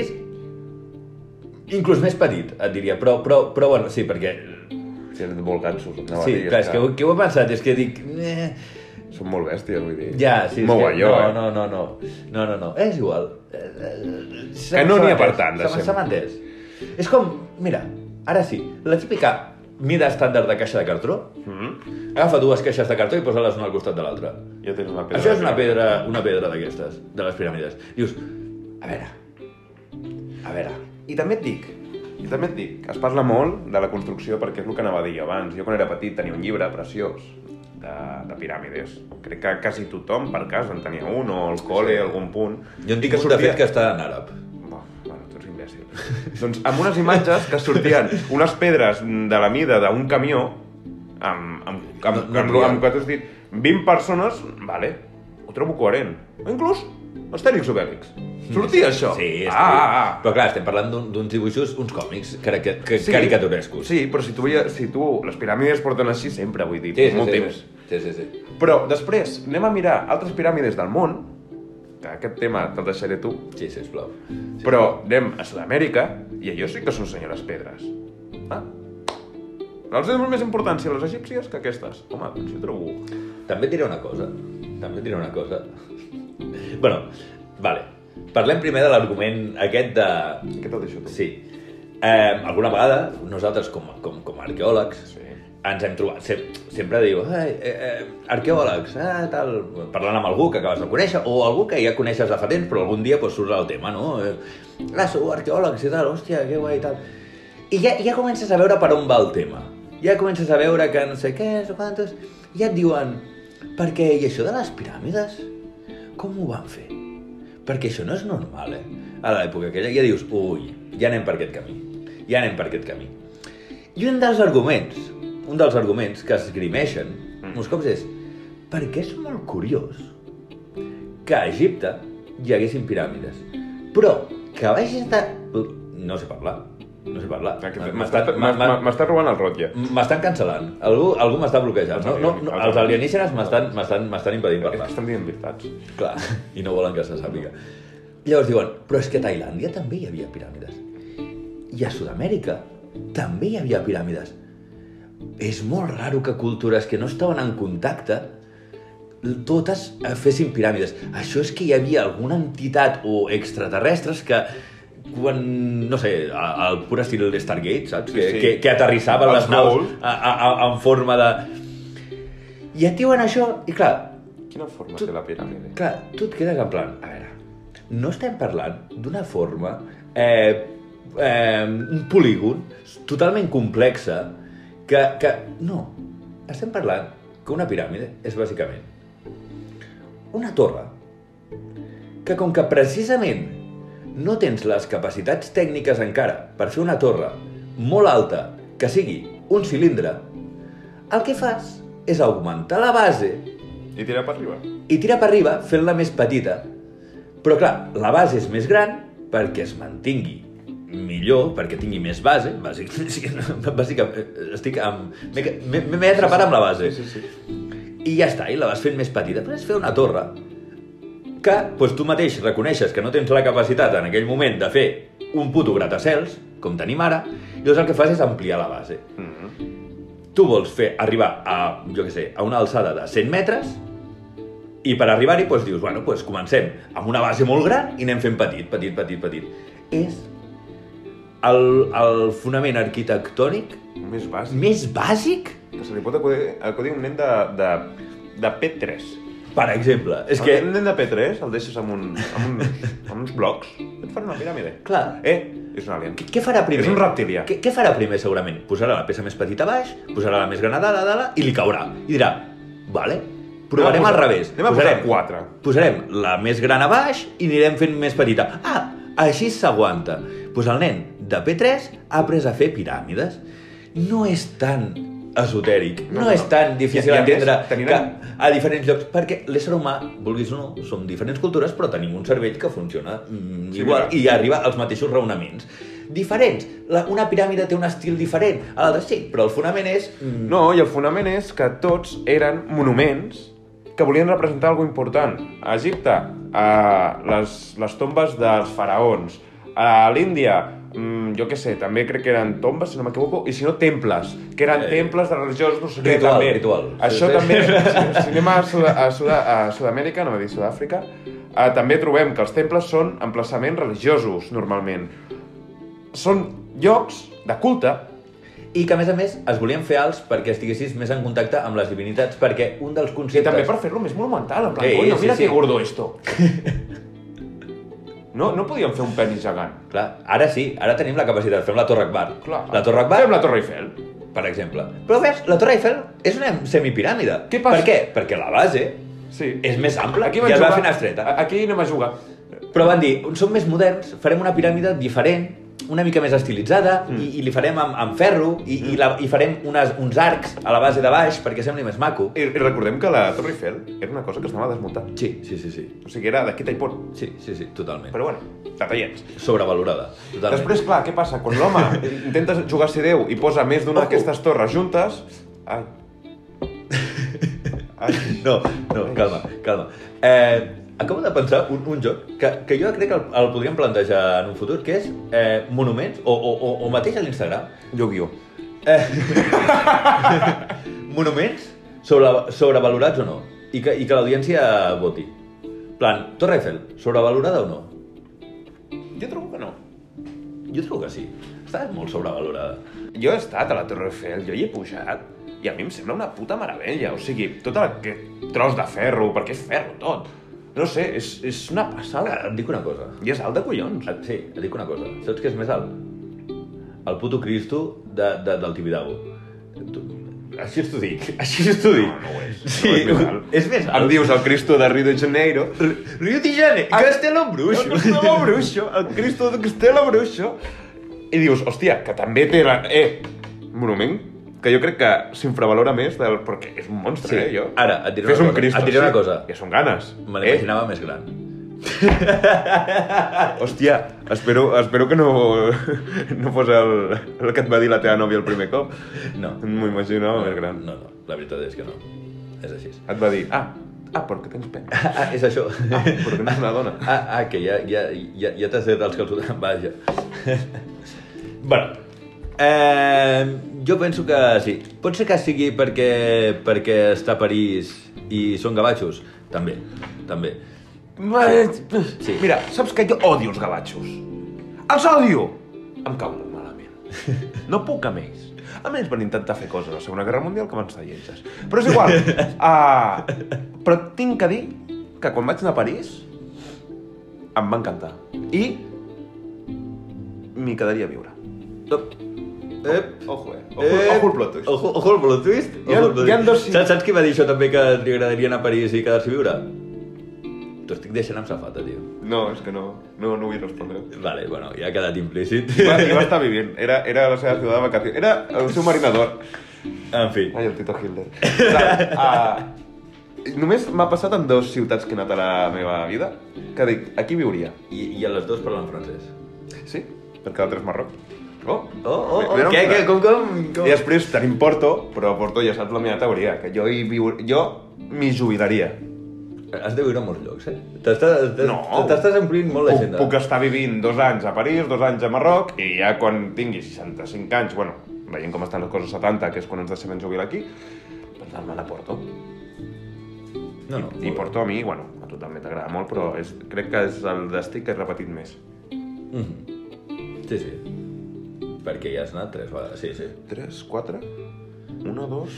Speaker 1: Inclús més petit, et diria, però, però, però bueno, sí, perquè...
Speaker 2: Sí, eren molt gansos. No,
Speaker 1: sí, clar, és que, ho- que ho he pensat, és que dic... Eh,
Speaker 2: Són molt bèsties, vull dir.
Speaker 1: ja, sí, és
Speaker 2: Mou
Speaker 1: que,
Speaker 2: allò,
Speaker 1: no,
Speaker 2: eh?
Speaker 1: no, no, no, no, no, no, és igual. Eh, eh, se-
Speaker 2: Que no
Speaker 1: se
Speaker 2: n'hi ha
Speaker 1: m'ha
Speaker 2: per
Speaker 1: entès,
Speaker 2: tant,
Speaker 1: se
Speaker 2: de
Speaker 1: m'ha-
Speaker 2: sempre.
Speaker 1: Se m'ha entès. És com, mira, ara sí, la típica mida estàndard de caixa de cartró,
Speaker 2: Mhm.
Speaker 1: agafa dues caixes de cartró i posa-les una al costat de l'altra.
Speaker 2: Ja tens una pedra.
Speaker 1: Això és
Speaker 2: de
Speaker 1: una
Speaker 2: piràmide.
Speaker 1: pedra, una pedra d'aquestes, de les piràmides. Dius, a veure, a veure,
Speaker 2: I també et dic, i també et dic, es parla molt de la construcció perquè és el que anava a dir abans. Jo quan era petit tenia un llibre preciós de, de piràmides. Crec que quasi tothom per casa en tenia un, o al
Speaker 1: Sí.
Speaker 2: col·le, a algun punt.
Speaker 1: Jo en tinc un de fet que està en àrab.
Speaker 2: Bah, Bueno, tu ets imbècil. <laughs> doncs amb unes imatges que sortien unes pedres de la mida d'un camió amb, amb, amb, amb,
Speaker 1: No- no
Speaker 2: amb, lo- amb
Speaker 1: podien.
Speaker 2: que t'has dit 20 persones, vale, ho trobo coherent. O inclús Astèrix Obèlix. Sortia això.
Speaker 1: Sí, és
Speaker 2: ah, ah, ah.
Speaker 1: Però clar, estem parlant d'un- d'uns dibuixos, uns còmics cari ca caricaturescos.
Speaker 2: Sí, però si tu, veia, si tu... Les piràmides porten així sempre, vull dir, sí, molt temps.
Speaker 1: Sí, sí, sí.
Speaker 2: Però després anem a mirar altres piràmides del món, que aquest tema te'l deixaré tu,
Speaker 1: Sí, sisplau.
Speaker 2: sí. però anem a Sud-amèrica i allò sí que són senyores pedres. Ah. No els donem més importància a les egípcies que aquestes. Home, doncs jo trobo...
Speaker 1: També et diré una cosa. També et diré una cosa. bueno, vale. Parlem primer de l'argument aquest de...
Speaker 2: Què te'l deixo tu?
Speaker 1: Sí. Eh, alguna vegada, nosaltres com, com, com a arqueòlegs,
Speaker 2: sí.
Speaker 1: ens hem trobat, sem sempre diu, "Ai, eh, eh, arqueòlegs, eh, tal, parlant amb algú que acabes de conèixer, o algú que ja coneixes de fa temps, però algun dia pues, surt el tema, no? Eh, ah, sou arqueòlegs i tal, hòstia, que guai i tal. I ja, ja comences a veure per on va el tema. Ja comences a veure que no sé què, no sé quantos... I ja et diuen, perquè i això de les piràmides, com ho van fer? Perquè això no és normal, eh? A l'època aquella ja dius, ui, ja anem per aquest camí, ja anem per aquest camí. I un dels arguments, un dels arguments que esgrimeixen molts cops és perquè és molt curiós que a Egipte hi haguessin piràmides, però que vagis de... No sé parlar, no sé parlar.
Speaker 2: Aquest-
Speaker 1: M'està-
Speaker 2: Ah, m'està-
Speaker 1: m'ha-
Speaker 2: m'ha-
Speaker 1: m'ha-
Speaker 2: M'està robant el rotlle.
Speaker 1: M'estan cancel·lant. Algú, algú m'està bloquejant. No, no, no, els alienígenes m'estan m'estan- m'estan impedint
Speaker 2: És que
Speaker 1: parlar.
Speaker 2: estan dient veritats.
Speaker 1: Clar, i no volen que se sàpiga. Llavors diuen, però és que a Tailàndia també hi havia piràmides. I a Sud-amèrica també hi havia piràmides. És molt raro que cultures que no estaven en contacte totes eh, fessin piràmides. Això és que hi havia alguna entitat o extraterrestres que quan, no sé, a- al pur estil de Stargate, saps?
Speaker 2: Sí,
Speaker 1: Que,
Speaker 2: sí.
Speaker 1: que, que aterrissaven
Speaker 2: Els
Speaker 1: les naus
Speaker 2: Maul.
Speaker 1: a, a, a, en forma de... I et diuen això, i clar,
Speaker 2: Quina forma
Speaker 1: Tu-
Speaker 2: té la piràmide?
Speaker 1: Clar, tu et quedes en plan, a veure, no estem parlant d'una forma, eh, eh, un polígon totalment complexa que, que... No, estem parlant que una piràmide és bàsicament una torre que com que precisament no tens les capacitats tècniques encara per fer una torre molt alta que sigui un cilindre, el que fas és augmentar la base
Speaker 2: I tirar per arriba.
Speaker 1: i tira per arriba fent-la més petita. Però clar, la base és més gran perquè es mantingui millor, perquè tingui més base, bàsic, <laughs> bàsicament, estic amb... m'he que- M'he m'he atrapat amb la base.
Speaker 2: Sí, sí, sí.
Speaker 1: I ja està, i la vas fent més petita. Però és fer una torre que doncs, tu mateix reconeixes que no tens la capacitat en aquell moment de fer un puto gratacels, com tenim ara, i llavors el que fas és ampliar la base.
Speaker 2: Mhm.
Speaker 1: Tu vols fer arribar a, jo què sé, a una alçada de 100 metres I per arribar-hi doncs, dius, bueno, doncs comencem amb una base molt gran i anem fent petit, petit, petit, petit. És el, el fonament arquitectònic
Speaker 2: Més bàsic.
Speaker 1: més bàsic,
Speaker 2: Que se li pot acudir, acudir un nen de, de, de P3.
Speaker 1: per exemple. És que,
Speaker 2: Un nen de P3 el deixes amb, un, amb, uns, amb uns blocs, et fan una piràmide.
Speaker 1: clar,
Speaker 2: Eh, és un alien.
Speaker 1: Què- Què farà primer?
Speaker 2: És un reptilià.
Speaker 1: Què, què farà primer, segurament? Posarà la peça més petita a baix, posarà la més gran a dalt, a dalt, i li caurà. I dirà, vale, provarem
Speaker 2: Anem a
Speaker 1: al
Speaker 2: posar-
Speaker 1: revés.
Speaker 2: anem a posar quatre.
Speaker 1: Posarem la més gran a baix i anirem fent més petita. Ah, així s'aguanta. Doncs el nen de P3 ha après a fer piràmides. No és tan esotèric,
Speaker 2: No,
Speaker 1: no,
Speaker 2: no.
Speaker 1: és tan difícil
Speaker 2: I a més,
Speaker 1: entendre
Speaker 2: tenirem-
Speaker 1: que a diferents llocs, perquè l'ésser humà, vulguis o no, som diferents cultures, però tenim un cervell que funciona mm,
Speaker 2: Sí,
Speaker 1: igual
Speaker 2: mira.
Speaker 1: i arriba als mateixos raonaments. Diferents. La, una piràmide té un estil diferent, a l'altre sí, però el fonament és... Mm,
Speaker 2: No, i el fonament és que tots eren monuments que volien representar alguna important. A Egipte, a les, les tombes dels faraons. A l'Índia, mm, jo què sé, també crec que eren tombes, si no m'equivoco, i si no, temples, que eren
Speaker 1: Eh,
Speaker 2: temples de religiós, no sé què,
Speaker 1: ritual,
Speaker 2: també.
Speaker 1: ritual.
Speaker 2: Això
Speaker 1: Sí, sí. <laughs>
Speaker 2: també, si, si anem a, Sud a, Sud a Sud-amèrica, no va dir Sud-àfrica, eh, també trobem que els temples són emplaçaments religiosos, normalment. Són llocs de culte,
Speaker 1: I que, a més a més, es volien fer alts perquè estiguessis més en contacte amb les divinitats, perquè un dels
Speaker 2: Sí,
Speaker 1: conceptes...
Speaker 2: també per fer-lo més monumental, en plan,
Speaker 1: Sí,
Speaker 2: coño,
Speaker 1: sí,
Speaker 2: mira
Speaker 1: sí.
Speaker 2: que gordo esto. <laughs> No, no podíem fer un penis gegant.
Speaker 1: Clar, ara sí, ara tenim la capacitat, fem la Torre Akbar.
Speaker 2: Clar.
Speaker 1: La Torre Akbar,
Speaker 2: Fem la Torre Eiffel.
Speaker 1: per exemple. Però ves, la Torre Eiffel és una semipiràmide.
Speaker 2: Què passa?
Speaker 1: Per què? Perquè la base
Speaker 2: Sí.
Speaker 1: és més ampla
Speaker 2: Aquí
Speaker 1: i
Speaker 2: vam
Speaker 1: es va
Speaker 2: jugar-
Speaker 1: fent estreta.
Speaker 2: a- Aquí anem a jugar.
Speaker 1: Però van dir, som més moderns, farem una piràmide diferent, una mica més estilitzada,
Speaker 2: Mm.
Speaker 1: i, i li farem amb, amb ferro, i, i, la, i farem unes, uns arcs a la base de baix perquè sembli més maco.
Speaker 2: I, i recordem que la Torre Eiffel era una cosa que estava desmuntant.
Speaker 1: Sí, sí, sí, sí.
Speaker 2: O sigui, era d'aquí i pot.
Speaker 1: Sí, sí, sí, totalment.
Speaker 2: Però bueno, detallets.
Speaker 1: Sobrevalorada, totalment.
Speaker 2: Després, clar, què passa? Quan l'home <laughs> intenta jugar a ser Déu i posa més d'una
Speaker 1: Ojo.
Speaker 2: d'aquestes torres juntes... Ai. <laughs> Ai.
Speaker 1: No, no, calma, calma. Eh, acabo de pensar un, un joc que, que jo crec que el, el podríem plantejar en un futur, que és eh, monuments, o, o, o, o mateix a l'Instagram, Eh,
Speaker 2: Yu-Gi-Oh!
Speaker 1: <laughs> monuments sobre, sobrevalorats o no? I que, i que l'audiència voti. plan, Torre Eiffel, sobrevalorada o no?
Speaker 2: Jo trobo que no.
Speaker 1: Jo trobo que sí. Està molt sobrevalorada.
Speaker 2: Jo he estat a la Torre Eiffel, jo hi he pujat, i a mi em sembla una puta meravella. O sigui, tot aquest tros de ferro, perquè és ferro tot. No sé, és, és una
Speaker 1: Ara,
Speaker 2: passada.
Speaker 1: Ah, et dic una cosa.
Speaker 2: I és alt de collons.
Speaker 1: Et, sí, et dic una cosa. Saps què és més alt? El puto Cristo de, de, del Tibidabo. Tu, així t'ho dic, així t'ho dic.
Speaker 2: No, no ho és.
Speaker 1: Sí,
Speaker 2: No és més alt.
Speaker 1: és més
Speaker 2: Em
Speaker 1: alt.
Speaker 2: dius el Cristo de Rio de Janeiro.
Speaker 1: Diu... Rio de Janeiro, ah, Castelo
Speaker 2: El Cristo Bruixo, el Cristo de Castelo Bruixo. I dius, hòstia, que també té la... Eh, monument que jo crec que s'infravalora més del... perquè és un monstre,
Speaker 1: Sí.
Speaker 2: eh, jo.
Speaker 1: Ara, et diré
Speaker 2: Fes
Speaker 1: una
Speaker 2: un
Speaker 1: cosa,
Speaker 2: Cristo,
Speaker 1: et diré una
Speaker 2: sí.
Speaker 1: cosa.
Speaker 2: Ja són ganes.
Speaker 1: Me l'imaginava més gran.
Speaker 2: Hòstia, espero, espero que no, no fos el, el que et va dir la teva nòvia el primer cop.
Speaker 1: No.
Speaker 2: M'ho imaginava més gran.
Speaker 1: No, no, la veritat és que no. És així.
Speaker 2: Et va dir, ah, ah, perquè tens pena.
Speaker 1: Ah, és això.
Speaker 2: Ah, perquè no és una dona.
Speaker 1: Ah, ah que ja, ja, ja, ja t'has tret els calçotons. Vaja. bueno, eh, jo penso que sí. Pot ser que sigui perquè, perquè està a París i són gavatxos? També, també. Sí.
Speaker 2: Mira, saps que jo odio els gavatxos. Els odio! Em cau molt malament. No puc amb ells. A més, van intentar fer coses a la Segona Guerra Mundial que van estar lletges. Però és igual. Uh, però tinc que dir que quan vaig anar a París em va encantar. I m'hi quedaria a viure.
Speaker 1: Ep. Ep.
Speaker 2: Ojo, eh?
Speaker 1: Ep.
Speaker 2: Ojo el plot twist.
Speaker 1: Ojo, ojo el plot twist.
Speaker 2: Hi ha-
Speaker 1: Ojo el plot
Speaker 2: hi ha
Speaker 1: twist.
Speaker 2: dos-
Speaker 1: Saps, saps qui va dir això també que li agradaria anar a París i quedar-s'hi a viure? T'ho estic deixant amb safata, tio.
Speaker 2: No, és que no, no, no vull respondre.
Speaker 1: Vale, bueno, ja ha quedat implícit. <laughs>
Speaker 2: I va, i va estar vivint. Era, era la seva ciutat de vacació. Era el seu marinador.
Speaker 1: En fi.
Speaker 2: Ai, el Tito Hitler. Uh, només m'ha passat en dues ciutats que he anat a la meva vida, que dic, aquí viuria.
Speaker 1: I, i a les dues parlen francès.
Speaker 2: Sí, perquè l'altre és Marroc. Oh,
Speaker 1: Oh, oh, oh,
Speaker 2: Mira,
Speaker 1: què,
Speaker 2: mira.
Speaker 1: què, com, com? com?
Speaker 2: I després tenim Porto, però a Porto ja saps la meva teoria, que jo hi viu... jo m'hi jubilaria.
Speaker 1: Has de viure a molts llocs, eh? T'estàs t'es-
Speaker 2: No.
Speaker 1: t'estàs omplint molt
Speaker 2: Puc,
Speaker 1: l'agenda.
Speaker 2: puc estar vivint dos anys a París, dos anys a Marroc, i ja quan tingui 65 anys, bueno, veient com estan les coses a 70, que és quan ens deixem en jubilar aquí, pensant-me a Porto.
Speaker 1: No, no,
Speaker 2: I, I porto a mi, bueno, a tu també t'agrada molt, però és, crec que és el destí que he repetit més.
Speaker 1: Mhm. Sí, sí. Perquè ja has anat tres vegades, sí, sí.
Speaker 2: Tres, quatre, una, dos,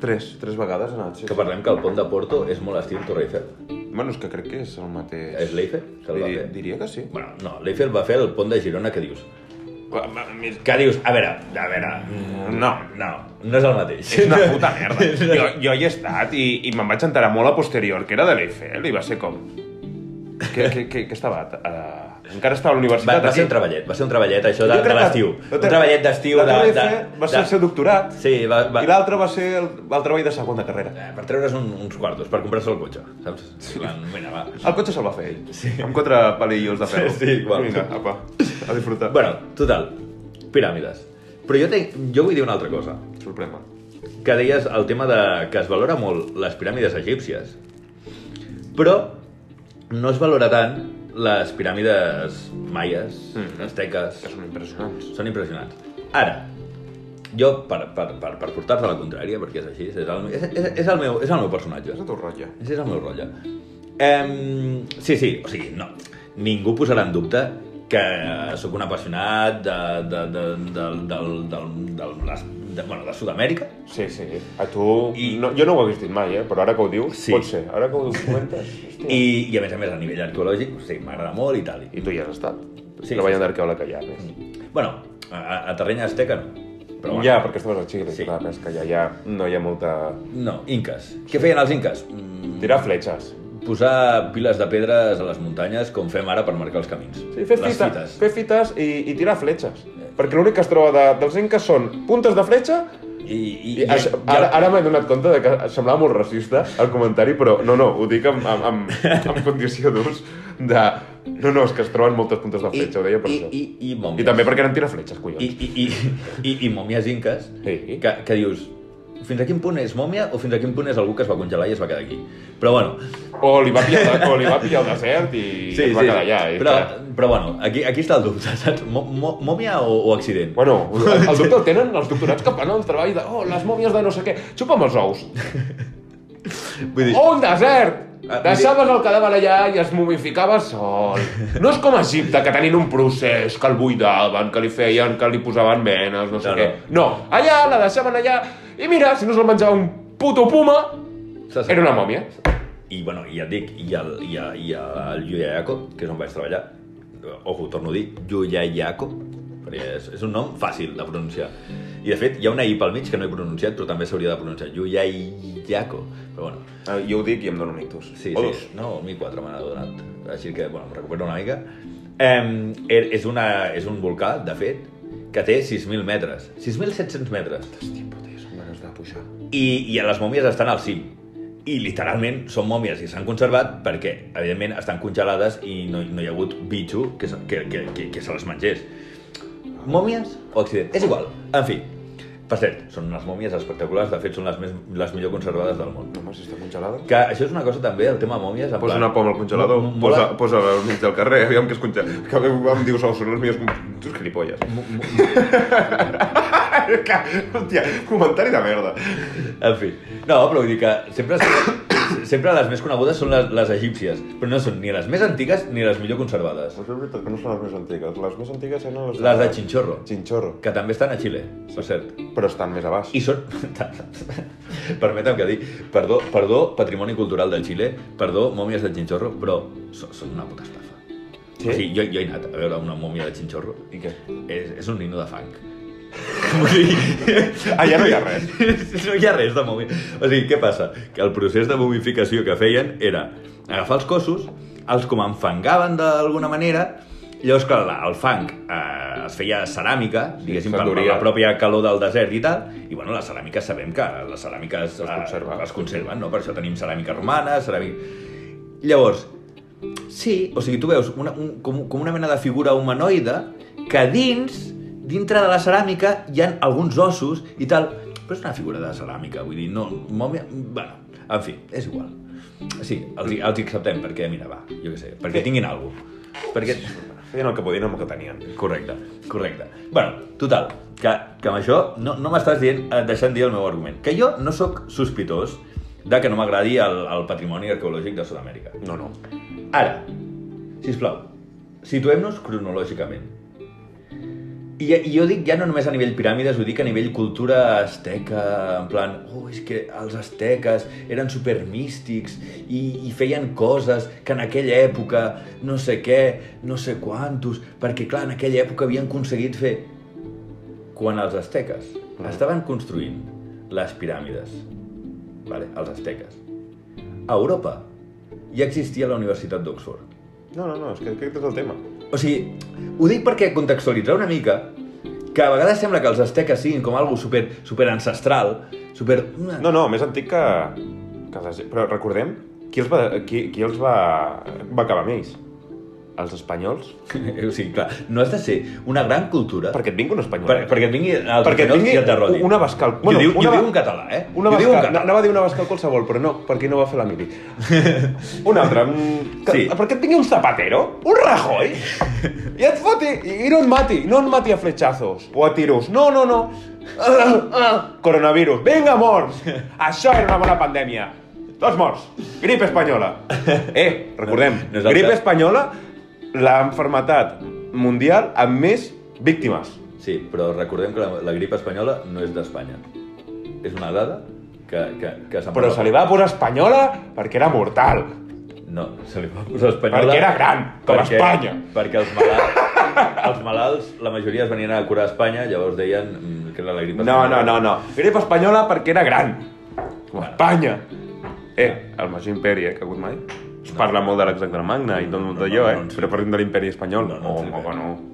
Speaker 2: tres. Tres vegades he anat. Sí.
Speaker 1: Que parlem que el pont de Porto és molt estil Torre Eiffel.
Speaker 2: Bueno, és que crec que és el mateix.
Speaker 1: És l'Eiffel que el va
Speaker 2: Diri-
Speaker 1: fer?
Speaker 2: Diria que sí.
Speaker 1: Bueno, no, l'Eiffel va fer el pont de Girona que dius.
Speaker 2: Va, va, mira,
Speaker 1: Que dius, a veure, a veure... mm,
Speaker 2: No,
Speaker 1: No, no és el mateix.
Speaker 2: És una
Speaker 1: <laughs>
Speaker 2: puta merda. Jo, jo hi he estat i, i me'n vaig enterar molt a posterior, que era de l'Eiffel, i va ser com... Què, què, què, què estava? Uh, encara estava a la
Speaker 1: Va,
Speaker 2: universitat
Speaker 1: va ser un treballet, va ser un treballet, això de, de l'estiu. Un treballet d'estiu
Speaker 2: de...
Speaker 1: de,
Speaker 2: La
Speaker 1: de,
Speaker 2: TLF va ser el seu doctorat,
Speaker 1: Sí, va, va,
Speaker 2: i l'altre va ser el, el treball de segona carrera.
Speaker 1: Eh, per treure's un, uns quartos, per comprar-se el cotxe, saps? Sí. Mira, va.
Speaker 2: El cotxe se'l va fer ell, sí. amb quatre palillos de ferro.
Speaker 1: Sí, sí, igual.
Speaker 2: Vinga, apa, a disfrutar.
Speaker 1: Bueno, total, piràmides. Però jo, tenc, jo vull dir una altra cosa,
Speaker 2: Sorprèn-me.
Speaker 1: que deies el tema de que es valora molt les piràmides egípcies, però no es valora tant les piràmides maies,
Speaker 2: Mhm.
Speaker 1: asteques...
Speaker 2: Que són impressionants.
Speaker 1: Són impressionants. Ara, jo, per, per, per, per portar-te a la contrària, perquè és així, és el, és, és, és el, meu, és el meu personatge.
Speaker 2: És el teu rotlle.
Speaker 1: Aquest és el meu rotlle. Um, sí, sí, o sigui, no. Ningú posarà en dubte que eh, sóc un apassionat de, de, de, de, de, de, de, les, de, bueno, de Sud-amèrica.
Speaker 2: Sí, sí. A tu...
Speaker 1: I-
Speaker 2: I... No, jo no ho hagués dit mai, eh? però ara que ho dius,
Speaker 1: Sí.
Speaker 2: pot ser. Ara que ho comentes, hòstia. I...
Speaker 1: I, I, a més a més, a nivell arqueològic, o sigui, m'agrada molt i tal. I,
Speaker 2: I tu hi has estat.
Speaker 1: Sí,
Speaker 2: Sí, Treballant
Speaker 1: sí, sí.
Speaker 2: sí. d'arqueòleg allà, a més.
Speaker 1: bueno, a, a terreny asteca no.
Speaker 2: eh. Però
Speaker 1: Però bueno,
Speaker 2: ja, perquè estaves a Xile,
Speaker 1: Sí.
Speaker 2: sí. clar, és que allà ja no hi ha molta...
Speaker 1: No, inques. Què feien els inques? Mm,
Speaker 2: Tirar fletxes.
Speaker 1: posar piles de pedres a les muntanyes com fem ara per marcar els camins.
Speaker 2: Sí, fer
Speaker 1: les
Speaker 2: fites, fites. Eh, fer fites i, i tirar fletxes. Perquè l'únic que es troba de, dels inques són puntes de fletxa
Speaker 1: I, i,
Speaker 2: I, això, ara ara m'he donat compte de que semblava molt racista el comentari, però no, no, ho dic amb, amb, amb,
Speaker 1: <laughs>
Speaker 2: amb condició d'ús de... No, no, és que es troben moltes puntes de fletxa, ho deia per
Speaker 1: i,
Speaker 2: això.
Speaker 1: i, i,
Speaker 2: I també perquè eren tirafletxes, collons.
Speaker 1: I, i, i, i, i mòmies inques,
Speaker 2: Sí.
Speaker 1: que, que dius, fins a quin punt és mòmia o fins a quin punt és algú que es va congelar i es va quedar aquí. Però bueno,
Speaker 2: O li va pillar, o li va pillar el desert i sí, es va quedar allà. I
Speaker 1: però,
Speaker 2: clar.
Speaker 1: però bueno, aquí, aquí està el dubte, saps? Mò- mò- Mòmia o, o accident?
Speaker 2: Bueno, el dubte el tenen els doctorats que fan el treball de... Oh, les mòmies de no sé què. Xupa'm els ous.
Speaker 1: Vull dir,
Speaker 2: Oh, un desert!
Speaker 1: Ah,
Speaker 2: Deixaves el cadàver allà i es mumificava sol. No és com a Egipte, que tenien un procés, que el buidaven, que li feien, que li posaven venes, no sé
Speaker 1: No,
Speaker 2: què. No, allà la deixaven allà i mira, si no se'l menjava un puto puma,
Speaker 1: saps?
Speaker 2: era una mòmia.
Speaker 1: I bueno, i ja et dic, i el, i el, i el Yuyayaco, que és on vaig treballar, ojo, torno a dir, Yuyayaco, perquè és, és un nom fàcil de pronunciar. I de fet, hi ha una I pel mig que no he pronunciat, però també s'hauria de pronunciar Yuyayaco. Però bueno,
Speaker 2: Ah, Jo ho dic i em dono un ictus.
Speaker 1: Sí, sí. No, 1004 me n'ha donat. Així que, bueno, em recupero una mica. Em, er- és, una, és un volcà, de fet, que té 6.000 metres. 6.700 metres.
Speaker 2: Hòstia, puta, ja són ganes de pujar.
Speaker 1: I, I les mòmies estan al cim. I literalment són mòmies i s'han conservat perquè, evidentment, estan congelades i no, no hi ha hagut bitxo que, se- que, que, que, que se les mengés. Mòmies o accident? És igual. En fi, per cert, són unes mòmies espectaculars. De fet, són les, més, les millor conservades del món.
Speaker 2: No, home, si està congelada.
Speaker 1: Que això és una cosa també, el tema mòmies... en
Speaker 2: Posa
Speaker 1: plan-
Speaker 2: una poma al congelador,
Speaker 1: Mo- mola-
Speaker 2: posa, posa al mig del carrer, aviam que es congela. Que em dius, oh, són els millors... com-" Tu ets gilipolles. <laughs> Que- Hòstia, comentari de merda.
Speaker 1: En fi. No, però vull dir que sempre, <coughs> sempre les més conegudes són les, les egípcies, però no són ni les més antigues ni les millor conservades.
Speaker 2: Però és veritat que no són les més antigues. Les més antigues eren les...
Speaker 1: Les de Chinchorro,
Speaker 2: Chinchorro.
Speaker 1: que també estan a Xile, per cert.
Speaker 2: Però estan més a baix.
Speaker 1: I són... <laughs> Permetem que dir, perdó, perdó, patrimoni cultural de Xile, perdó, mòmies de Chinchorro, però són, són una puta estafa.
Speaker 2: Sí?
Speaker 1: O sigui, jo, jo he anat a veure una mòmia de Chinchorro.
Speaker 2: I què?
Speaker 1: És, és un nino de fang. <laughs> Vull dir,
Speaker 2: Ah, ja no hi ha res.
Speaker 1: <laughs> no hi ha res de mòbil. O sigui, què passa? Que el procés de momificació que feien era agafar els cossos, els com enfangaven d'alguna manera, llavors, clar, la- el fang eh, es feia ceràmica, diguéssim, per, per
Speaker 2: s'enduria.
Speaker 1: la pròpia calor del desert i tal, i bueno, la ceràmica sabem que les ceràmiques
Speaker 2: Es conserva.
Speaker 1: es conserven, no? Per això tenim ceràmica romana, ceràmica... Llavors, sí, o sigui, tu veus una, un, com, com una mena de figura humanoide que dins, dintre de la ceràmica, hi han alguns ossos i tal. Però és una figura de ceràmica, vull dir, no... Mòmia, bueno, en fi, és igual. Sí, els, hi- els hi acceptem perquè, mira, va, jo què sé, perquè tinguin alguna cosa. Perquè...
Speaker 2: Feien el que podien amb el que tenien.
Speaker 1: Correcte, correcte. bueno, total, que, que amb això no, no m'estàs dient, eh, deixant dir el meu argument. Que jo no sóc sospitós de que no m'agradi el, el patrimoni arqueològic de Sud-amèrica.
Speaker 2: No, no.
Speaker 1: Ara, si plau, situem-nos cronològicament. I, I jo dic ja no només a nivell piràmides, ho dic a nivell cultura asteca, en plan, oh, és que els asteques eren supermístics i, i feien coses que en aquella època, no sé què, no sé quantos, perquè clar, en aquella època havien aconseguit fer... Quan els asteques estaven construint les piràmides, vale, els asteques, a Europa ja existia la Universitat d'Oxford.
Speaker 2: No, no, no, és que aquest és el tema.
Speaker 1: O sigui, ho dic perquè contextualitzar una mica que a vegades sembla que els asteques siguin com algo super, super ancestral, super...
Speaker 2: No, no, més antic que... que les... Però recordem qui els va, qui, qui els va, va acabar amb ells? Els espanyols?
Speaker 1: <laughs> O sigui, clar, no has de ser una gran cultura
Speaker 2: Perquè et vingui un espanyol.
Speaker 1: per, perquè et vingui el
Speaker 2: Perquè et vingui
Speaker 1: i et derrodi.
Speaker 2: una bascal...
Speaker 1: Bueno, jo diu,
Speaker 2: una,
Speaker 1: jo diu un català, eh?
Speaker 2: Una
Speaker 1: Jo diu un
Speaker 2: bascal...
Speaker 1: català.
Speaker 2: Anava a dir una bascal qualsevol, però no, perquè no va fer la
Speaker 1: <laughs>
Speaker 2: mili. un altre. mm, Que,
Speaker 1: Sí.
Speaker 2: Perquè et vingui un Zapatero, un Rajoy, i et foti, i, i no et mati, no et mati a fletxazos o a tiros. No, no, no. <laughs> Ah, ah, Coronavirus. Vinga, morts! Això era una bona pandèmia. Tots morts. Grip espanyola.
Speaker 1: <laughs>
Speaker 2: Eh, recordem,
Speaker 1: No, nosaltres-
Speaker 2: grip espanyola, la enfermetat mundial amb més víctimes.
Speaker 1: Sí, però recordem que la, la grip espanyola no és d'Espanya. És una dada que, que, que se'n
Speaker 2: Però
Speaker 1: parla
Speaker 2: se li va posar espanyola perquè era mortal.
Speaker 1: No, se li va posar espanyola...
Speaker 2: Perquè era gran, com Espanya.
Speaker 1: Perquè els malalts, <laughs> els malalts, la majoria es venien a curar a Espanya, llavors deien mm, que era la grip
Speaker 2: No, no, no, no. Grip espanyola perquè era gran. Com Espanya. Eh, el major imperi eh, que ha hagut mai. Es parla molt de l'Alexandre Magna i tot
Speaker 1: No,
Speaker 2: no,
Speaker 1: no,
Speaker 2: d'allò, eh?
Speaker 1: no ens
Speaker 2: Però parlem de l'imperi espanyol. Oh,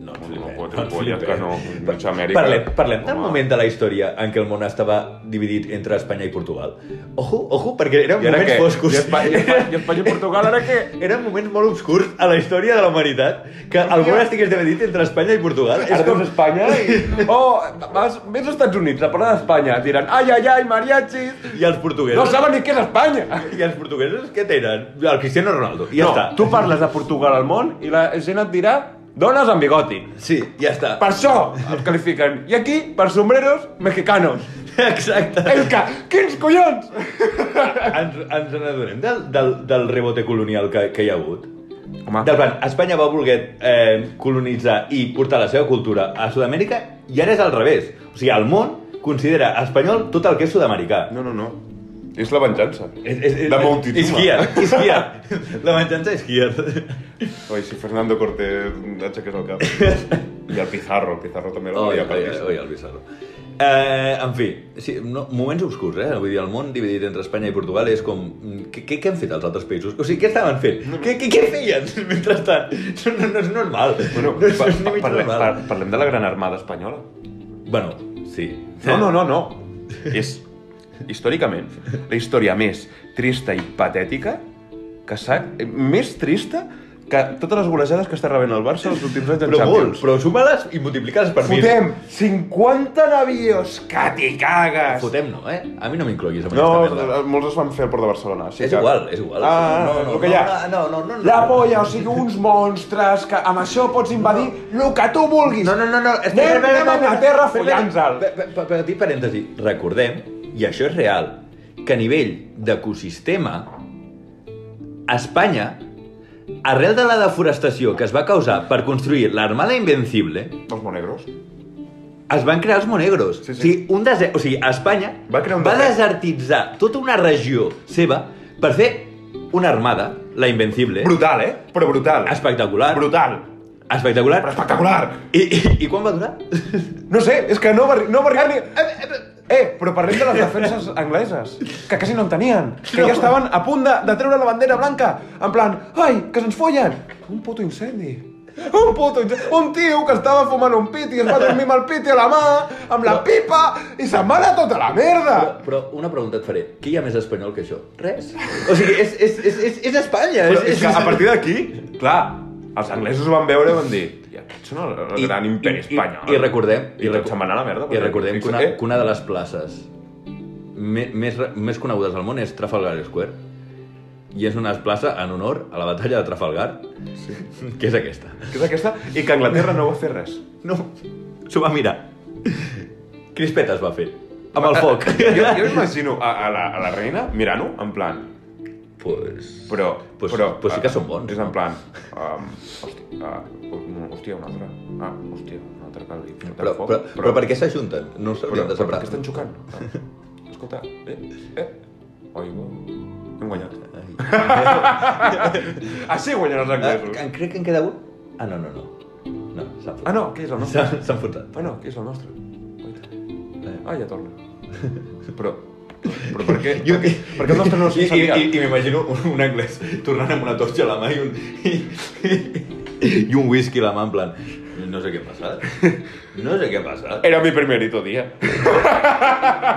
Speaker 1: No, no ens
Speaker 2: home,
Speaker 1: flipem.
Speaker 2: que no.
Speaker 1: No ens flipem. No ens flipem.
Speaker 2: no, pot empolles, que no.
Speaker 1: Pa-
Speaker 2: Doncs Amèrica.
Speaker 1: Parlem, parlem del
Speaker 2: Home.
Speaker 1: moment de la història en què el món estava dividit entre Espanya i Portugal. Ojo, ojo, perquè eren
Speaker 2: I ara
Speaker 1: moments
Speaker 2: què?
Speaker 1: foscos.
Speaker 2: I Espa- I
Speaker 1: <laughs>
Speaker 2: Espa- i Espanya i Portugal, ara què?
Speaker 1: Eren moments molt obscurs a la història de la humanitat que el món estigués dividit entre Espanya i Portugal.
Speaker 2: Ara veus Espanya i... Oh, vas, vés als Estats Units, a parlar d'Espanya, diran ai, ai, ai, mariachis,
Speaker 1: <laughs> I els portuguesos...
Speaker 2: no saben ni què és Espanya.
Speaker 1: I els portuguesos què tenen? El Cristiano Ronaldo. I ja
Speaker 2: no,
Speaker 1: està.
Speaker 2: tu parles de Portugal al món i la gent et dirà dones amb bigoti.
Speaker 1: Sí, ja està.
Speaker 2: Per això els qualifiquen. I aquí, per sombreros, mexicanos.
Speaker 1: Exacte.
Speaker 2: És que, quins collons!
Speaker 1: ens, ens n'adonem del, del, del rebote colonial que, que hi ha hagut?
Speaker 2: Home.
Speaker 1: Del plan, Espanya va voler eh, colonitzar i portar la seva cultura a Sud-amèrica i ara és al revés. O sigui, el món considera espanyol tot el que és sud-americà.
Speaker 2: No, no, no. És la venjança.
Speaker 1: És, és, és,
Speaker 2: De Montezuma.
Speaker 1: És Kier, és Kier. La venjança és Kier.
Speaker 2: Oi, si Fernando Cortés aixequés <laughs> el cap. I el Pizarro, el Pizarro també
Speaker 1: Oi, oi, oi, el Pizarro. Eh, en fi, sí, no, moments obscurs, eh? Vull dir, el món dividit entre Espanya i Portugal és com... mm, Què, què, què han fet els altres països? O sigui, què estaven fent? Què, què, què feien <laughs> mentrestant? No, no, no és normal.
Speaker 2: Bueno,
Speaker 1: no és,
Speaker 2: <laughs> pa,
Speaker 1: és ni
Speaker 2: pa,
Speaker 1: mig
Speaker 2: parlem,
Speaker 1: normal.
Speaker 2: par, parlem de la Gran Armada Espanyola.
Speaker 1: Bueno, sí.
Speaker 2: No, no, no, no. És, històricament, la història més trista i patètica que s'ha... eh, Més trista que totes les golejades que està rebent el Barça els últims anys en
Speaker 1: Però molt,
Speaker 2: Champions.
Speaker 1: però suma-les i multiplica-les per mil.
Speaker 2: Fotem 50 navios, que t'hi cagues!
Speaker 1: Fotem no, eh? A mi no m'incloguis amb
Speaker 2: No,
Speaker 1: aquesta merda.
Speaker 2: molts es van fer al Port de Barcelona. Sí
Speaker 1: És igual, és igual.
Speaker 2: Ah,
Speaker 1: No, no,
Speaker 2: el
Speaker 1: no,
Speaker 2: que hi ha.
Speaker 1: no, no, no, no.
Speaker 2: La polla, o sigui, uns monstres que amb això pots invadir el que tu vulguis.
Speaker 1: No, no, no, no.
Speaker 2: Anem, anem a Anglaterra follant-se'l.
Speaker 1: follant-se'l. Petit parèntesi. Recordem, i això és real, que a nivell d'ecosistema, Espanya, arrel de la deforestació que es va causar per construir l'Armada Invencible,
Speaker 2: Els monegros.
Speaker 1: es van crear els monegros.
Speaker 2: Sí, sí.
Speaker 1: O sigui, un dese... o sigui, Espanya
Speaker 2: Va crear un
Speaker 1: va
Speaker 2: desert.
Speaker 1: desertitzar tota una regió seva per fer una armada, la Invencible,
Speaker 2: Brutal, eh? Però brutal.
Speaker 1: espectacular,
Speaker 2: Brutal.
Speaker 1: espectacular,
Speaker 2: Però espectacular.
Speaker 1: I, i, i quan va durar?
Speaker 2: No sé, és que no va, arri- no va arribar ni... Eh, però parlem de les defenses angleses, que quasi no en tenien, que ja estaven a punt de, de treure la bandera blanca, en plan, ai, que se'ns follen! Un puto incendi. Un puto incendi. Un tio que estava fumant un piti, es va dormir amb el piti a la mà, amb la pipa, i se'n va anar tota la merda!
Speaker 1: Però, però una pregunta et faré. Què hi ha més espanyol que això? Res. O sigui, és, és, és, és, és Espanya.
Speaker 2: Però és que a partir d'aquí, clar, els anglesos van veure i van dir "Tia, aquests són el, el gran imperi espanyol.
Speaker 1: I, i recordem...
Speaker 2: I,
Speaker 1: recor-
Speaker 2: tot se'n va anar a la merda.
Speaker 1: I
Speaker 2: perquè-
Speaker 1: recordem que una,
Speaker 2: Eh?
Speaker 1: que una de les places me- més, re- més conegudes al món és Trafalgar Square. I és una plaça en honor a la batalla de Trafalgar, sí. que és aquesta.
Speaker 2: Que és aquesta, i que Anglaterra no va fer res.
Speaker 1: No, s'ho va mirar. Crispetes va fer.
Speaker 3: amb el
Speaker 1: <laughs>
Speaker 3: foc.
Speaker 4: Jo, jo imagino a, a, la, a la reina mirant-ho, en plan...
Speaker 1: Pues...
Speaker 4: Però...
Speaker 1: Pues-
Speaker 4: però eh,
Speaker 1: pues sí que són bons,
Speaker 4: És
Speaker 1: no?
Speaker 4: en plan... Um, hòstia, uh, no, hòstia, un altre. Ah, hòstia, un altre que li fotem
Speaker 1: Però,
Speaker 4: foc.
Speaker 1: però, però, per què s'ajunten? No ho
Speaker 4: però,
Speaker 1: sabríem de
Speaker 4: però per
Speaker 1: separar.
Speaker 4: què estan xocant? Ah, Escolta, eh, eh... Oi, bo. Hem guanyat. Així guanyen els anglesos.
Speaker 1: Ah, crec que en queda un. Ah, no, no, no. No, s'han
Speaker 4: Ah,
Speaker 1: fotat. <laughs>
Speaker 4: no, que és el nostre.
Speaker 1: S'han s'han fotat.
Speaker 4: Ah, no, que és el nostre. Guaita.
Speaker 1: Eh.
Speaker 4: Ah, ja torna. Però, però per què?
Speaker 1: Jo-
Speaker 4: per, què- per què el nostre no
Speaker 1: I, i,
Speaker 4: s'incendia?
Speaker 1: i, i m'imagino un, un anglès tornant amb una torxa a la mà i un, i, i un whisky a la mà en plan no sé què ha passat, no sé què ha passat.
Speaker 4: Era mi primerito dia.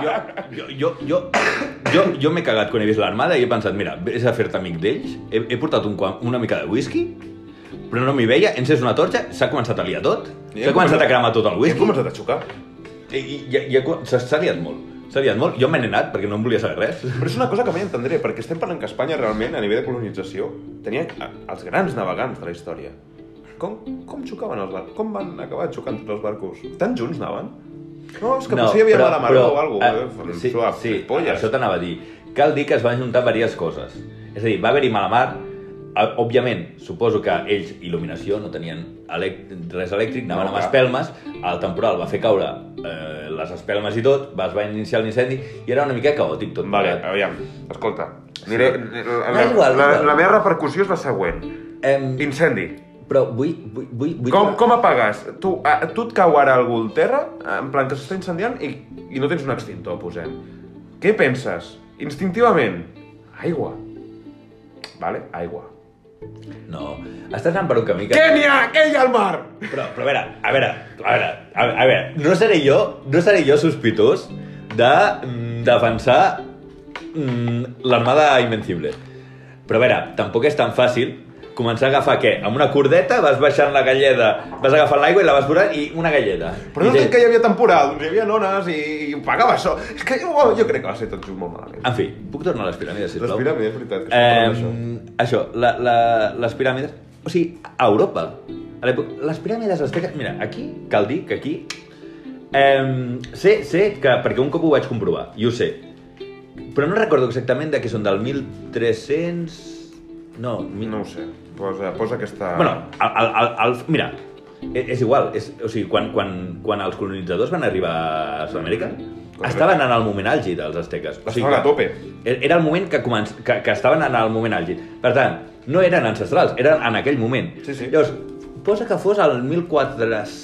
Speaker 1: Jo, jo, jo, jo, jo, jo m'he cagat quan he vist l'armada i he pensat, mira, vés a fer-te amic d'ells, he, he portat un, quan- una mica de whisky, però no m'hi veia, he encès una torxa, s'ha començat a liar tot,
Speaker 4: I
Speaker 1: s'ha començat a
Speaker 4: hem començat-
Speaker 1: cremar tot el
Speaker 4: Hem
Speaker 1: whisky,
Speaker 4: començat a xocar.
Speaker 1: i, i, i, i ha- s'ha s'ha liat molt, s'ha liat molt. Jo me n'he anat perquè no em volia saber res.
Speaker 4: Però és una cosa que mai entendré, perquè estem parlant que Espanya realment, a nivell de colonització, tenia a- els grans navegants de la història. Com, com xocaven els barcos? Com van acabar xocant tots els barcos? Tan junts anaven? No, és que no, potser hi havia
Speaker 1: però-
Speaker 4: mala maró
Speaker 1: però,
Speaker 4: o alguna cosa.
Speaker 1: eh,
Speaker 4: Eh,
Speaker 1: sí, sí,
Speaker 4: polles.
Speaker 1: això t'anava a dir. Cal dir que es van juntar diverses coses. És a dir, va haver-hi mala mar, eh, òbviament, suposo que ells il·luminació no tenien elec res elèctric, anaven
Speaker 4: No,
Speaker 1: amb
Speaker 4: clar.
Speaker 1: espelmes, el temporal va fer caure eh, les espelmes i tot, va, es va iniciar l'incendi i era una mica caòtic tot.
Speaker 4: Vale,
Speaker 1: plegat.
Speaker 4: aviam, escolta. Aniré, la, la,
Speaker 1: No, igual,
Speaker 4: la,
Speaker 1: igual.
Speaker 4: la meva repercussió és la següent.
Speaker 1: Em,
Speaker 4: Incendi.
Speaker 1: però vull... vull, vull, vull
Speaker 4: Com, com apagues? Tu, a, tu et cau ara algú al terra, en plan que s'està incendiant, i, i no tens un extintor, posem. Què penses? Instintivament. Aigua. Vale? Aigua.
Speaker 1: No, estàs anant per un camí que...
Speaker 4: Què n'hi ha? Què hi ha al mar?
Speaker 1: Però, però a veure, a veure, a veure, a veure, a veure, no seré jo, no seré jo sospitós de mm, defensar mm, l'armada invencible. Però a veure, tampoc és tan fàcil començar a agafar què? Amb una cordeta vas baixant la galleda, vas agafant l'aigua i la vas posant i una galleda.
Speaker 4: Però no
Speaker 1: I
Speaker 4: entenc que hi havia temporal, hi havia nones i, i pagava això. És que jo, jo crec que va ser tot just molt malament.
Speaker 1: En fi, puc tornar a les piràmides, Ah, sisplau?
Speaker 4: Les piràmides, és veritat, que
Speaker 1: Eh,
Speaker 4: estem parlant
Speaker 1: això, la, la, les piràmides... O sigui, a Europa, a l'època... Les piràmides asteques... Mira, aquí, cal dir que aquí... Eh, sé, sé que... Perquè un cop ho vaig comprovar, i ho sé. Però no recordo exactament de què són, del 1300... No, mil-
Speaker 4: No ho sé. Posa, posa aquesta...
Speaker 1: Bueno, el, el, el, el, mira, és, Ah. E-, és igual. És, o sigui, quan, quan, quan els colonitzadors van arribar a Sud-amèrica,
Speaker 4: Correcte.
Speaker 1: estaven en el moment àlgid, els asteques. O
Speaker 4: Estaven a
Speaker 1: que-
Speaker 4: tope.
Speaker 1: e- Era el moment que, començ, que, que estaven en el moment àlgid. Per tant, no eren ancestrals, eren en aquell moment.
Speaker 4: Sí, sí.
Speaker 1: Llavors, posa que fos el 1400...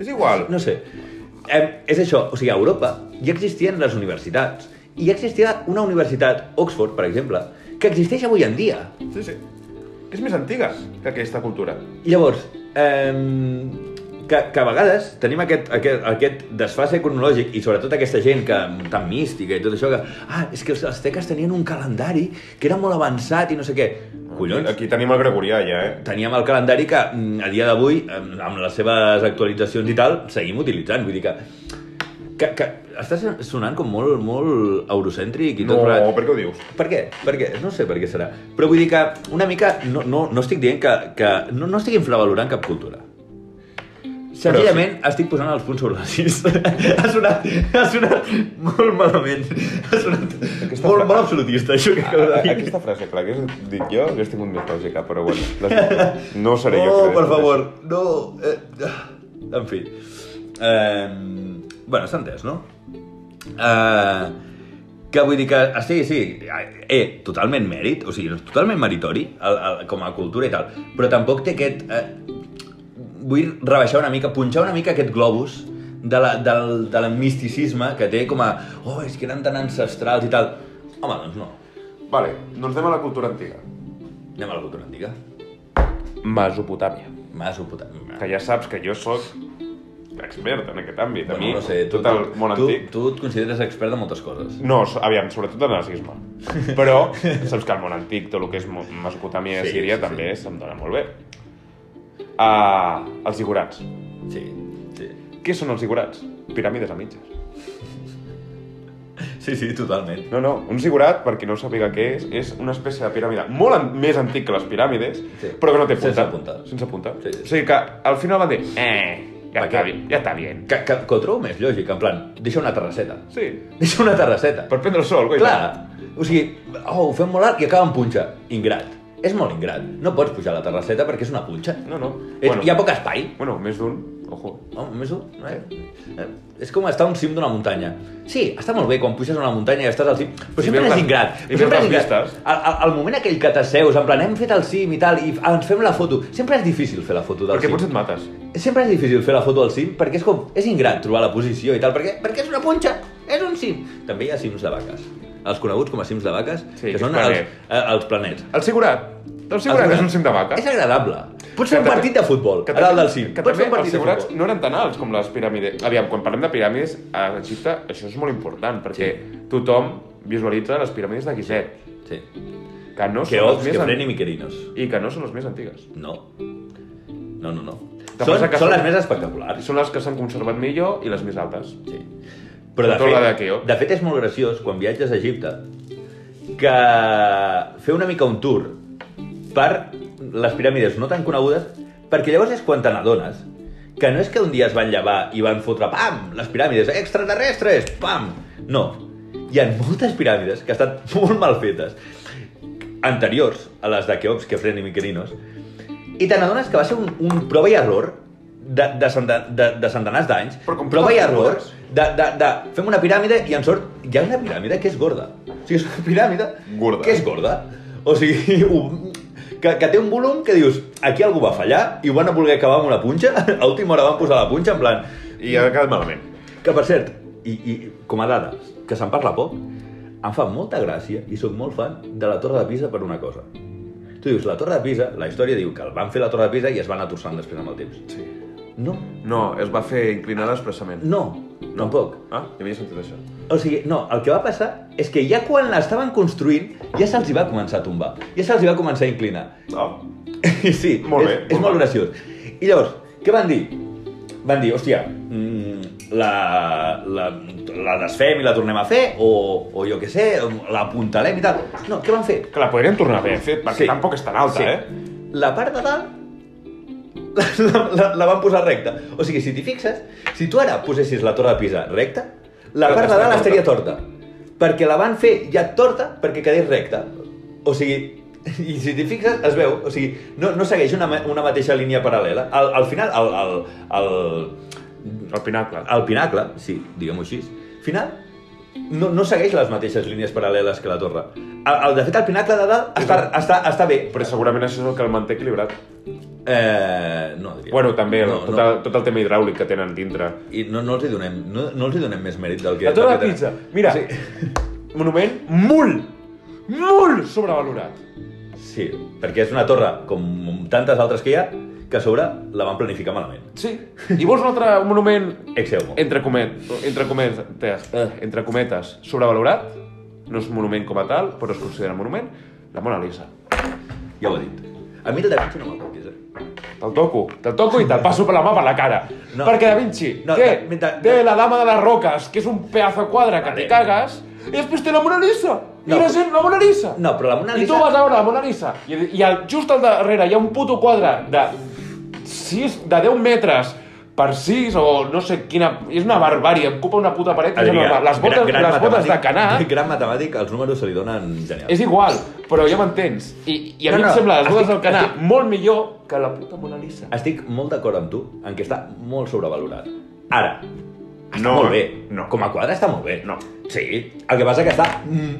Speaker 4: És igual.
Speaker 1: No sé. Eh, és això, o sigui, a Europa ja existien les universitats. I ja existia una universitat, Oxford, per exemple, que existeix avui en dia.
Speaker 4: Sí, sí. És més antiga que aquesta cultura.
Speaker 1: Llavors, ehm, que, que a vegades tenim aquest, aquest, aquest desfase cronològic i sobretot aquesta gent que tan mística i tot això que... Ah, és que els azteques tenien un calendari que era molt avançat i no sé què. Collons,
Speaker 4: Aquí, aquí tenim el Gregorià, ja, eh?
Speaker 1: teníem el calendari que mm, a dia d'avui, em, amb les seves actualitzacions i tal, seguim utilitzant. Vull dir que... que, que estàs sonant com molt, molt eurocèntric i
Speaker 4: No,
Speaker 1: tot plegat.
Speaker 4: per què ho dius?
Speaker 1: Per què? Per què? No sé per què serà. Però vull dir que una mica no, no, no estic dient que, que no, no estic infravalorant cap cultura. Senzillament estic posant els punts sobre les is. <laughs> ha, sonat, ha sonat molt malament. Ha sonat
Speaker 4: Aquesta
Speaker 1: molt,
Speaker 4: fra-
Speaker 1: molt absolutista, això que acabo
Speaker 4: A-
Speaker 1: de
Speaker 4: a-
Speaker 1: <laughs> dir.
Speaker 4: Aquesta frase, clar, que l'hagués dit jo, hagués tingut més lògica, però bueno, les- no seré
Speaker 1: <laughs>
Speaker 4: jo.
Speaker 1: oh,
Speaker 4: que
Speaker 1: per
Speaker 4: decideixi.
Speaker 1: favor, no... Eh, ah, en fi. Eh, bueno, s'ha entès, no? Eh, que vull dir que... Ah, sí, sí, eh, totalment mèrit, o sigui, totalment meritori el, el, com a cultura i tal, però tampoc té aquest... Eh, vull rebaixar una mica, punxar una mica aquest globus de la, del, de l'amisticisme que té com a... Oh, és que eren tan ancestrals i tal. Home, doncs no.
Speaker 4: Vale, doncs anem a la cultura antiga.
Speaker 1: Anem a la cultura antiga.
Speaker 4: Mesopotàmia.
Speaker 1: Mesopotàmia.
Speaker 4: Que ja saps que jo sóc expert en aquest àmbit. a mi,
Speaker 1: Bueno, no sé, tu,
Speaker 4: tot el món
Speaker 1: tu,
Speaker 4: antic...
Speaker 1: tu et consideres expert de moltes coses.
Speaker 4: No, so- aviam, sobretot de nazisme. Però saps que el món antic, tot el que és mo- Mesopotàmia i
Speaker 1: Sí,
Speaker 4: Síria,
Speaker 1: sí,
Speaker 4: també se'm dona molt bé. Ah, els igurats.
Speaker 1: Sí, sí.
Speaker 4: Què són els igurats? Piràmides a mitges.
Speaker 1: Sí, sí, totalment.
Speaker 4: No, no, un zigurat, per qui no sàpiga què és, és una espècie de piràmide molt an més antic que les piràmides,
Speaker 1: Sí.
Speaker 4: però que no té punta.
Speaker 1: Sense punta.
Speaker 4: Sense punta.
Speaker 1: Sí, sí.
Speaker 4: O sigui que al final van dir, eh,
Speaker 2: Ja
Speaker 1: Per
Speaker 2: està
Speaker 1: què?
Speaker 2: bien, ja està bien.
Speaker 1: Que, que, que ho trobo més lògic, en plan, deixa una terrasseta.
Speaker 2: Sí,
Speaker 1: Deixa una terrasseta.
Speaker 2: per prendre el sol, guaita.
Speaker 1: Clar, o sigui, oh, ho fem molt alt i acaba en punxa. Ingrat. És molt ingrat. No pots pujar a la terrasseta perquè és una punxa.
Speaker 2: No, no.
Speaker 1: És, bueno. Hi ha poc espai.
Speaker 2: bueno, més d'un, ojo.
Speaker 1: Oh, més un, eh? Eh, És com estar a un cim d'una muntanya. Sí, està molt bé quan puges a una muntanya i estàs al cim, però
Speaker 2: I
Speaker 1: sempre
Speaker 2: veus
Speaker 1: és
Speaker 2: les-
Speaker 1: ingrat.
Speaker 2: i veus
Speaker 1: Sempre és
Speaker 2: les
Speaker 1: ingrat.
Speaker 2: vistes.
Speaker 1: Al, al, al moment aquell que t'asseus, en plan, hem fet el cim i tal, i ah, ens fem la foto. Sempre és difícil fer la foto del
Speaker 2: Perquè
Speaker 1: cim.
Speaker 2: potser et mates.
Speaker 1: Sempre és difícil fer la foto al cim perquè és com... És ingrat trobar la posició i tal, perquè, perquè és una punxa, és un cim. També hi ha cims de vaques. Els coneguts com a cims de vaques,
Speaker 2: Sí,
Speaker 1: que
Speaker 2: és
Speaker 1: són els,
Speaker 2: planer.
Speaker 1: eh, els planets.
Speaker 2: El Sigurat. El
Speaker 1: Els
Speaker 2: Sigurat és
Speaker 1: planets.
Speaker 2: un cim de vaca.
Speaker 1: És agradable. Pots fer
Speaker 2: Que
Speaker 1: un
Speaker 2: també-
Speaker 1: partit de futbol, a dalt del cim.
Speaker 2: Que
Speaker 1: Pots
Speaker 2: també
Speaker 1: fer un
Speaker 2: els
Speaker 1: partit de
Speaker 2: segurats
Speaker 1: futbol.
Speaker 2: no eren tan alts com les piràmides. Aviam, quan parlem de piràmides, a Egipte això és molt important, perquè
Speaker 1: Sí.
Speaker 2: tothom visualitza les piràmides de Gizet,
Speaker 1: Sí.
Speaker 2: que
Speaker 4: Pues
Speaker 2: no
Speaker 1: Que
Speaker 2: són les
Speaker 1: ops,
Speaker 2: més
Speaker 1: que
Speaker 2: an-
Speaker 1: freni miquerinos.
Speaker 2: i que no són les més antigues.
Speaker 1: No. No, no, no.
Speaker 2: Te
Speaker 1: Són,
Speaker 2: passa que
Speaker 1: són
Speaker 2: són-
Speaker 1: les més espectaculars.
Speaker 2: Són les que s'han conservat millor i les més altes.
Speaker 1: Sí. Però de
Speaker 2: Tot la de
Speaker 1: fet,
Speaker 2: Keops.
Speaker 1: de fet és molt graciós quan viatges a Egipte que fer una mica un tour per les piràmides no tan conegudes perquè llavors és quan te n'adones que no és que un dia es van llevar i van fotre pam, les piràmides extraterrestres, pam, no. Hi ha moltes piràmides que estan <laughs> molt mal fetes anteriors a les de Keops, Kefren i Miquelinos i te n'adones que va ser un, un prova i error de, de, centa- de, de centenars d'anys,
Speaker 2: Però com
Speaker 1: prova i
Speaker 2: totes les
Speaker 1: error
Speaker 2: coses.
Speaker 1: de, de, de fem una piràmide i en sort hi ha una piràmide que és gorda. O sigui, és una piràmide
Speaker 2: Gorda.
Speaker 1: que és gorda. O sigui, <laughs> un, que, que té un volum que dius, aquí algú va fallar i ho van voler acabar amb una punxa, <laughs> a última hora van posar la punxa, en plan...
Speaker 2: I ha quedat malament.
Speaker 1: Que, per cert, i, i com a dada, que se'n parla poc, em fa molta gràcia i sóc molt fan de la Torre de Pisa per una cosa. Tu dius, la Torre de Pisa, la història diu que el van fer la Torre de Pisa i es van atorçant després amb el temps.
Speaker 2: Sí.
Speaker 1: No,
Speaker 2: No, es va fer inclinada expressament.
Speaker 1: no, tampoc.
Speaker 2: Ah, ja havia sentit això.
Speaker 1: O sigui, no, el que va passar és que ja quan l'estaven construint ja se'ls hi va començar a tombar, ja se'ls hi va començar a inclinar. <laughs>
Speaker 2: Oh.
Speaker 1: I sí,
Speaker 2: Molt
Speaker 1: és,
Speaker 2: bé,
Speaker 1: és
Speaker 2: molt
Speaker 1: molt
Speaker 2: bé.
Speaker 1: graciós. I llavors, què van dir? Van dir, hòstia, mm, la, la, la desfem i la tornem a fer, o, o jo què sé, la apuntalem i tal. No, què van fer?
Speaker 2: Que la podrien tornar a fer, fet, perquè tampoc és tan
Speaker 1: sí.
Speaker 2: alta, eh?
Speaker 1: La part de dalt <laughs> la, la, la, la van posar recta. O sigui, si t'hi fixes, si tu ara posessis la torre de Pisa recta, la
Speaker 2: Però
Speaker 1: part de
Speaker 2: està
Speaker 1: dalt
Speaker 2: torta.
Speaker 1: estaria torta. Perquè la van fer ja torta perquè quedés recta. O sigui, i si t'hi fixes, es veu. O sigui, no, no segueix una, ma- una mateixa línia paral·lela. Al, al final, el, el, el,
Speaker 2: El pinacle.
Speaker 1: el pinacle, sí, diguem-ho així, final, no, no segueix les mateixes línies paral·leles que la torre. El, el, de fet, el pinacle de dalt està, està, està bé.
Speaker 2: Però segurament això és el que el manté equilibrat.
Speaker 1: Eh, no, diria.
Speaker 2: Bueno, també el,
Speaker 1: no,
Speaker 2: tot,
Speaker 1: no.
Speaker 2: El, tot el tema hidràulic que tenen dintre.
Speaker 1: I no, no, els hi donem, no, no els hi donem més mèrit del que...
Speaker 2: La torre
Speaker 1: del que
Speaker 2: de
Speaker 1: tenen.
Speaker 2: pizza. Mira, sí. monument molt, molt sobrevalorat.
Speaker 1: Sí, perquè és una torre, com tantes altres que hi ha, que a sobre la van planificar malament.
Speaker 2: Sí. I vols un altre monument
Speaker 1: Exeumo.
Speaker 2: entre, comet, entre, cometes, eh, entre cometes sobrevalorat? No és monument com a tal, però es considera monument. La Mona Lisa.
Speaker 1: Ja ho he dit. A mi el Da Vinci no me'l toquis, eh?
Speaker 2: Te'l toco, te'l toco i te'l passo per la mà per la cara.
Speaker 1: No.
Speaker 2: No. Perquè Da Vinci
Speaker 1: No,
Speaker 2: no, té,
Speaker 1: de- de-
Speaker 2: té
Speaker 1: de-
Speaker 2: la dama de les roques, que és un pedazo de quadre que
Speaker 1: Vale.
Speaker 2: te cagues, i després té la Mona Lisa.
Speaker 1: No.
Speaker 2: I la gent, la Mona Lisa.
Speaker 1: No, però la Mona
Speaker 2: I tu
Speaker 1: Lisa...
Speaker 2: vas a veure la Mona Lisa i, i al, just al darrere hi ha un puto quadre de 6, de 10 metres per 6 o no sé quina... És una barbàrie, ocupa una puta paret. és
Speaker 1: Adrià,
Speaker 2: enorme. les botes,
Speaker 1: gran- gran
Speaker 2: les botes de
Speaker 1: matemàtic-
Speaker 2: Canà
Speaker 1: <laughs> Gran matemàtic, els números se li donen genial.
Speaker 2: és igual, però ja m'entens. I, I a
Speaker 1: No,
Speaker 2: mi
Speaker 1: no,
Speaker 2: em sembla les botes
Speaker 1: estic-
Speaker 2: del Canà
Speaker 1: estic-
Speaker 2: molt millor que la puta Mona Lisa.
Speaker 1: Estic molt d'acord amb tu en que està molt sobrevalorat. Ara, està no, molt bé.
Speaker 2: no. eh.
Speaker 1: Com a quadre està molt bé.
Speaker 2: No.
Speaker 1: Sí, el que passa que està mm,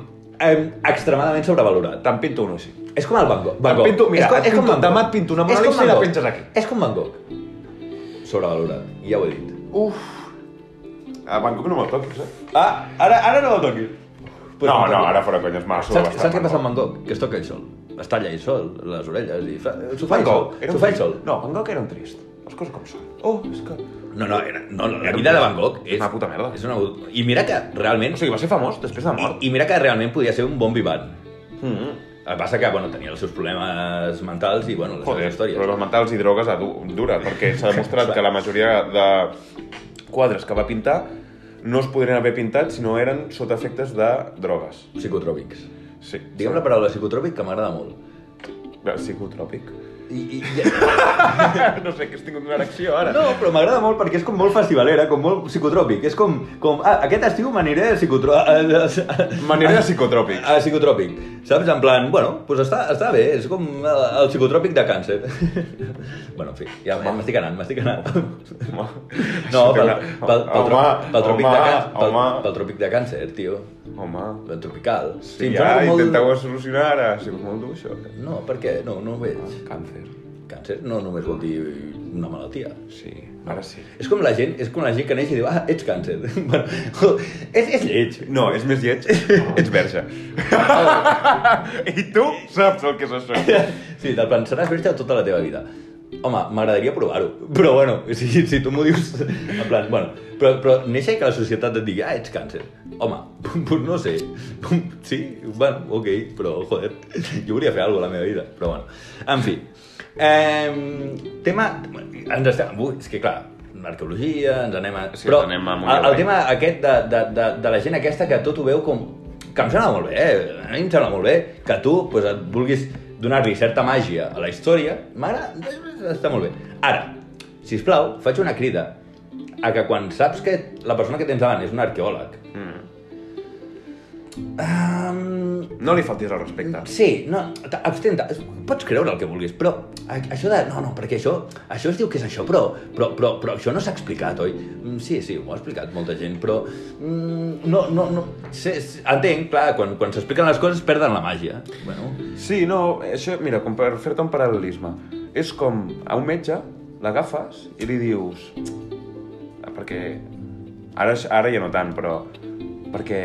Speaker 1: em, extremadament sobrevalorat.
Speaker 2: Te'n pinto un així.
Speaker 1: És com el Van Gogh. Van
Speaker 2: Et
Speaker 1: Gogh.
Speaker 2: pinto- mira,
Speaker 1: és com,
Speaker 2: et
Speaker 1: és com
Speaker 2: pinto-
Speaker 1: Van Gogh.
Speaker 2: demà et pinto una Mona
Speaker 1: És com
Speaker 2: Lisa i
Speaker 1: Van
Speaker 2: la
Speaker 1: Gogh.
Speaker 2: penges aquí.
Speaker 1: És com Van Gogh. Sobrevalorat, ja ho he dit.
Speaker 2: Uf. A Bangkok no me'l toquis, eh?
Speaker 1: Ah, ara, ara no el toquis. Pues
Speaker 2: no,
Speaker 1: me'l
Speaker 2: no,
Speaker 1: toco.
Speaker 2: ara fora conyes, m'ha
Speaker 1: Saps, saps què passa amb Van Gogh? Que es toca ell sol. Es talla ell sol, les orelles, i fa... S'ho fa ell sol. S'ho fa ell sol.
Speaker 2: No, Van Gogh era un trist. Les coses com són. Oh, és que...
Speaker 1: No, no, era, no, no, la
Speaker 2: Era
Speaker 1: vida
Speaker 2: un-
Speaker 1: de Van Gogh és...
Speaker 2: una puta merda.
Speaker 1: És una... I mira que realment...
Speaker 2: O sigui, va ser famós després de mort.
Speaker 1: I, I mira que realment podia ser un bon vivant.
Speaker 2: Mm -hmm.
Speaker 1: El que passa que, bueno, tenia els seus problemes mentals i, bueno, les
Speaker 2: Joder,
Speaker 1: seves històries.
Speaker 2: problemes mentals i drogues a du dura, perquè s'ha demostrat que la majoria de quadres que va pintar no es podrien haver pintat si no eren sota efectes de drogues.
Speaker 1: Psicotròpics.
Speaker 2: Sí.
Speaker 1: Digue'm la paraula psicotròpic que m'agrada molt.
Speaker 2: <laughs> paraula. Psicotròpic.
Speaker 1: I, i, i...
Speaker 4: no sé, que has tingut una erecció ara.
Speaker 1: No, però m'agrada molt perquè és com molt festivalera, com molt psicotròpic. És com, com ah, aquest estiu m'aniré a, psicotro... a, a, a,
Speaker 4: Manera de psicotròpics.
Speaker 1: a psicotròpic. Saps? En plan, bueno, doncs està, està bé, és com el, el psicotròpic de càncer. <laughs> bueno, en fi, ja m'estic anant, m'estic
Speaker 4: <laughs>
Speaker 1: anant. <laughs>
Speaker 4: Home,
Speaker 1: No,
Speaker 4: això té
Speaker 1: pel,
Speaker 4: una-
Speaker 1: pel, pel,
Speaker 4: home,
Speaker 1: tròpic- pel, tròpic de
Speaker 4: home,
Speaker 1: càncer, pel,
Speaker 4: Home,
Speaker 1: pel tròpic de càncer, tio.
Speaker 4: home.
Speaker 1: El tropical.
Speaker 4: Sí,
Speaker 1: em
Speaker 4: ja,
Speaker 1: sona com
Speaker 4: intenteu solucionar ara. Ha sigut molt dur, això.
Speaker 1: No, perquè no, no ho veig.
Speaker 4: Càncer.
Speaker 1: Càncer no només vol dir una malaltia.
Speaker 4: Sí, ara sí.
Speaker 1: És com la gent, és com la gent que neix i diu, ah, ets càncer. <laughs> bueno, és, és lleig.
Speaker 4: No, <laughs> és més lleig. Ets verge. I tu saps el que és això.
Speaker 1: Sí, del plan, seràs verge tota la teva vida. Home, m'agradaria provar-ho, però bueno, si, si tu m'ho dius, en plan, bueno, però, però néixer i que la societat et digui, ah, ets càncer. Home, <laughs> doncs no sé, sí, bueno, ok, però joder, jo volia fer alguna cosa a la meva vida, però bueno, en fi. Eh, tema, ens estem, ui, és que clar, arqueologia, ens anem a...
Speaker 4: Sí, anem amunt i
Speaker 1: el, el
Speaker 4: avall.
Speaker 1: tema aquest de, de, de, de la gent aquesta que tot ho veu com... Que em sembla molt bé, eh? A mi em sembla molt bé que tu pues, et vulguis donar-li certa màgia a la història. M'agrada, està molt bé. Ara, si us plau, faig una crida a que quan saps que la persona que tens davant és un arqueòleg...
Speaker 4: Mm.
Speaker 1: Um,
Speaker 4: No li faltis al respecte.
Speaker 1: Sí, no, t- abstenta. Pots creure el que vulguis, però a- això de... No, no, perquè això, això es diu que és això, però, però, però, però això no s'ha explicat, oi? Mm, Sí, sí, ho ha explicat molta gent, però... mm, No, no, no... Sí, sí, entenc, clar, quan, quan s'expliquen les coses perden la màgia. Bueno,
Speaker 4: Sí, no, això, mira, com per fer-te un paral·lelisme. És com a un metge l'agafes i li dius... "Ah, Perquè... Ara, ara ja no tant, però... Perquè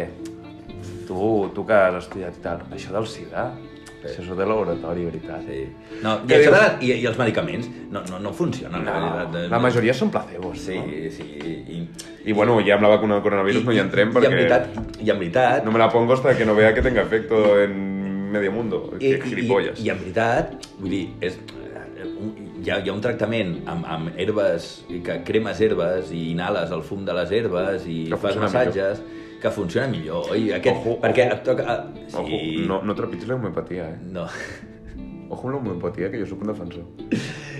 Speaker 4: tu, tu que has estudiat i tal, això del sida, això és de laboratori, veritat.
Speaker 1: sí. No, i,
Speaker 4: Què
Speaker 1: això de,
Speaker 4: dius?
Speaker 1: i, I els medicaments no, no, no funcionen.
Speaker 4: No,
Speaker 1: veritat, eh,
Speaker 4: Ah, la majoria són placebos,
Speaker 1: Sí,
Speaker 4: no?
Speaker 1: sí. I,
Speaker 4: I bueno, ja amb la vacuna del coronavirus no hi entrem perquè
Speaker 1: I en veritat, i en veritat
Speaker 4: no me la pongo hasta que no vea que tenga efecto en medio mundo.
Speaker 1: I,
Speaker 4: que
Speaker 1: i,
Speaker 4: gilipolles.
Speaker 1: i, I en veritat, vull dir, és, hi, ha, hi ha un tractament amb, amb herbes, que cremes herbes i inhales el fum de les herbes i
Speaker 4: Que
Speaker 1: fas
Speaker 4: funciona
Speaker 1: massatges millor. que funciona millor. I aquest,
Speaker 4: Ojo,
Speaker 1: perquè
Speaker 4: ojo.
Speaker 1: et toca... ah, Sí,
Speaker 4: Ojo, no, no trepitgis la homeopatía, eh.
Speaker 1: No.
Speaker 4: Ojo amb la homeopatía, que jo sóc un defensor.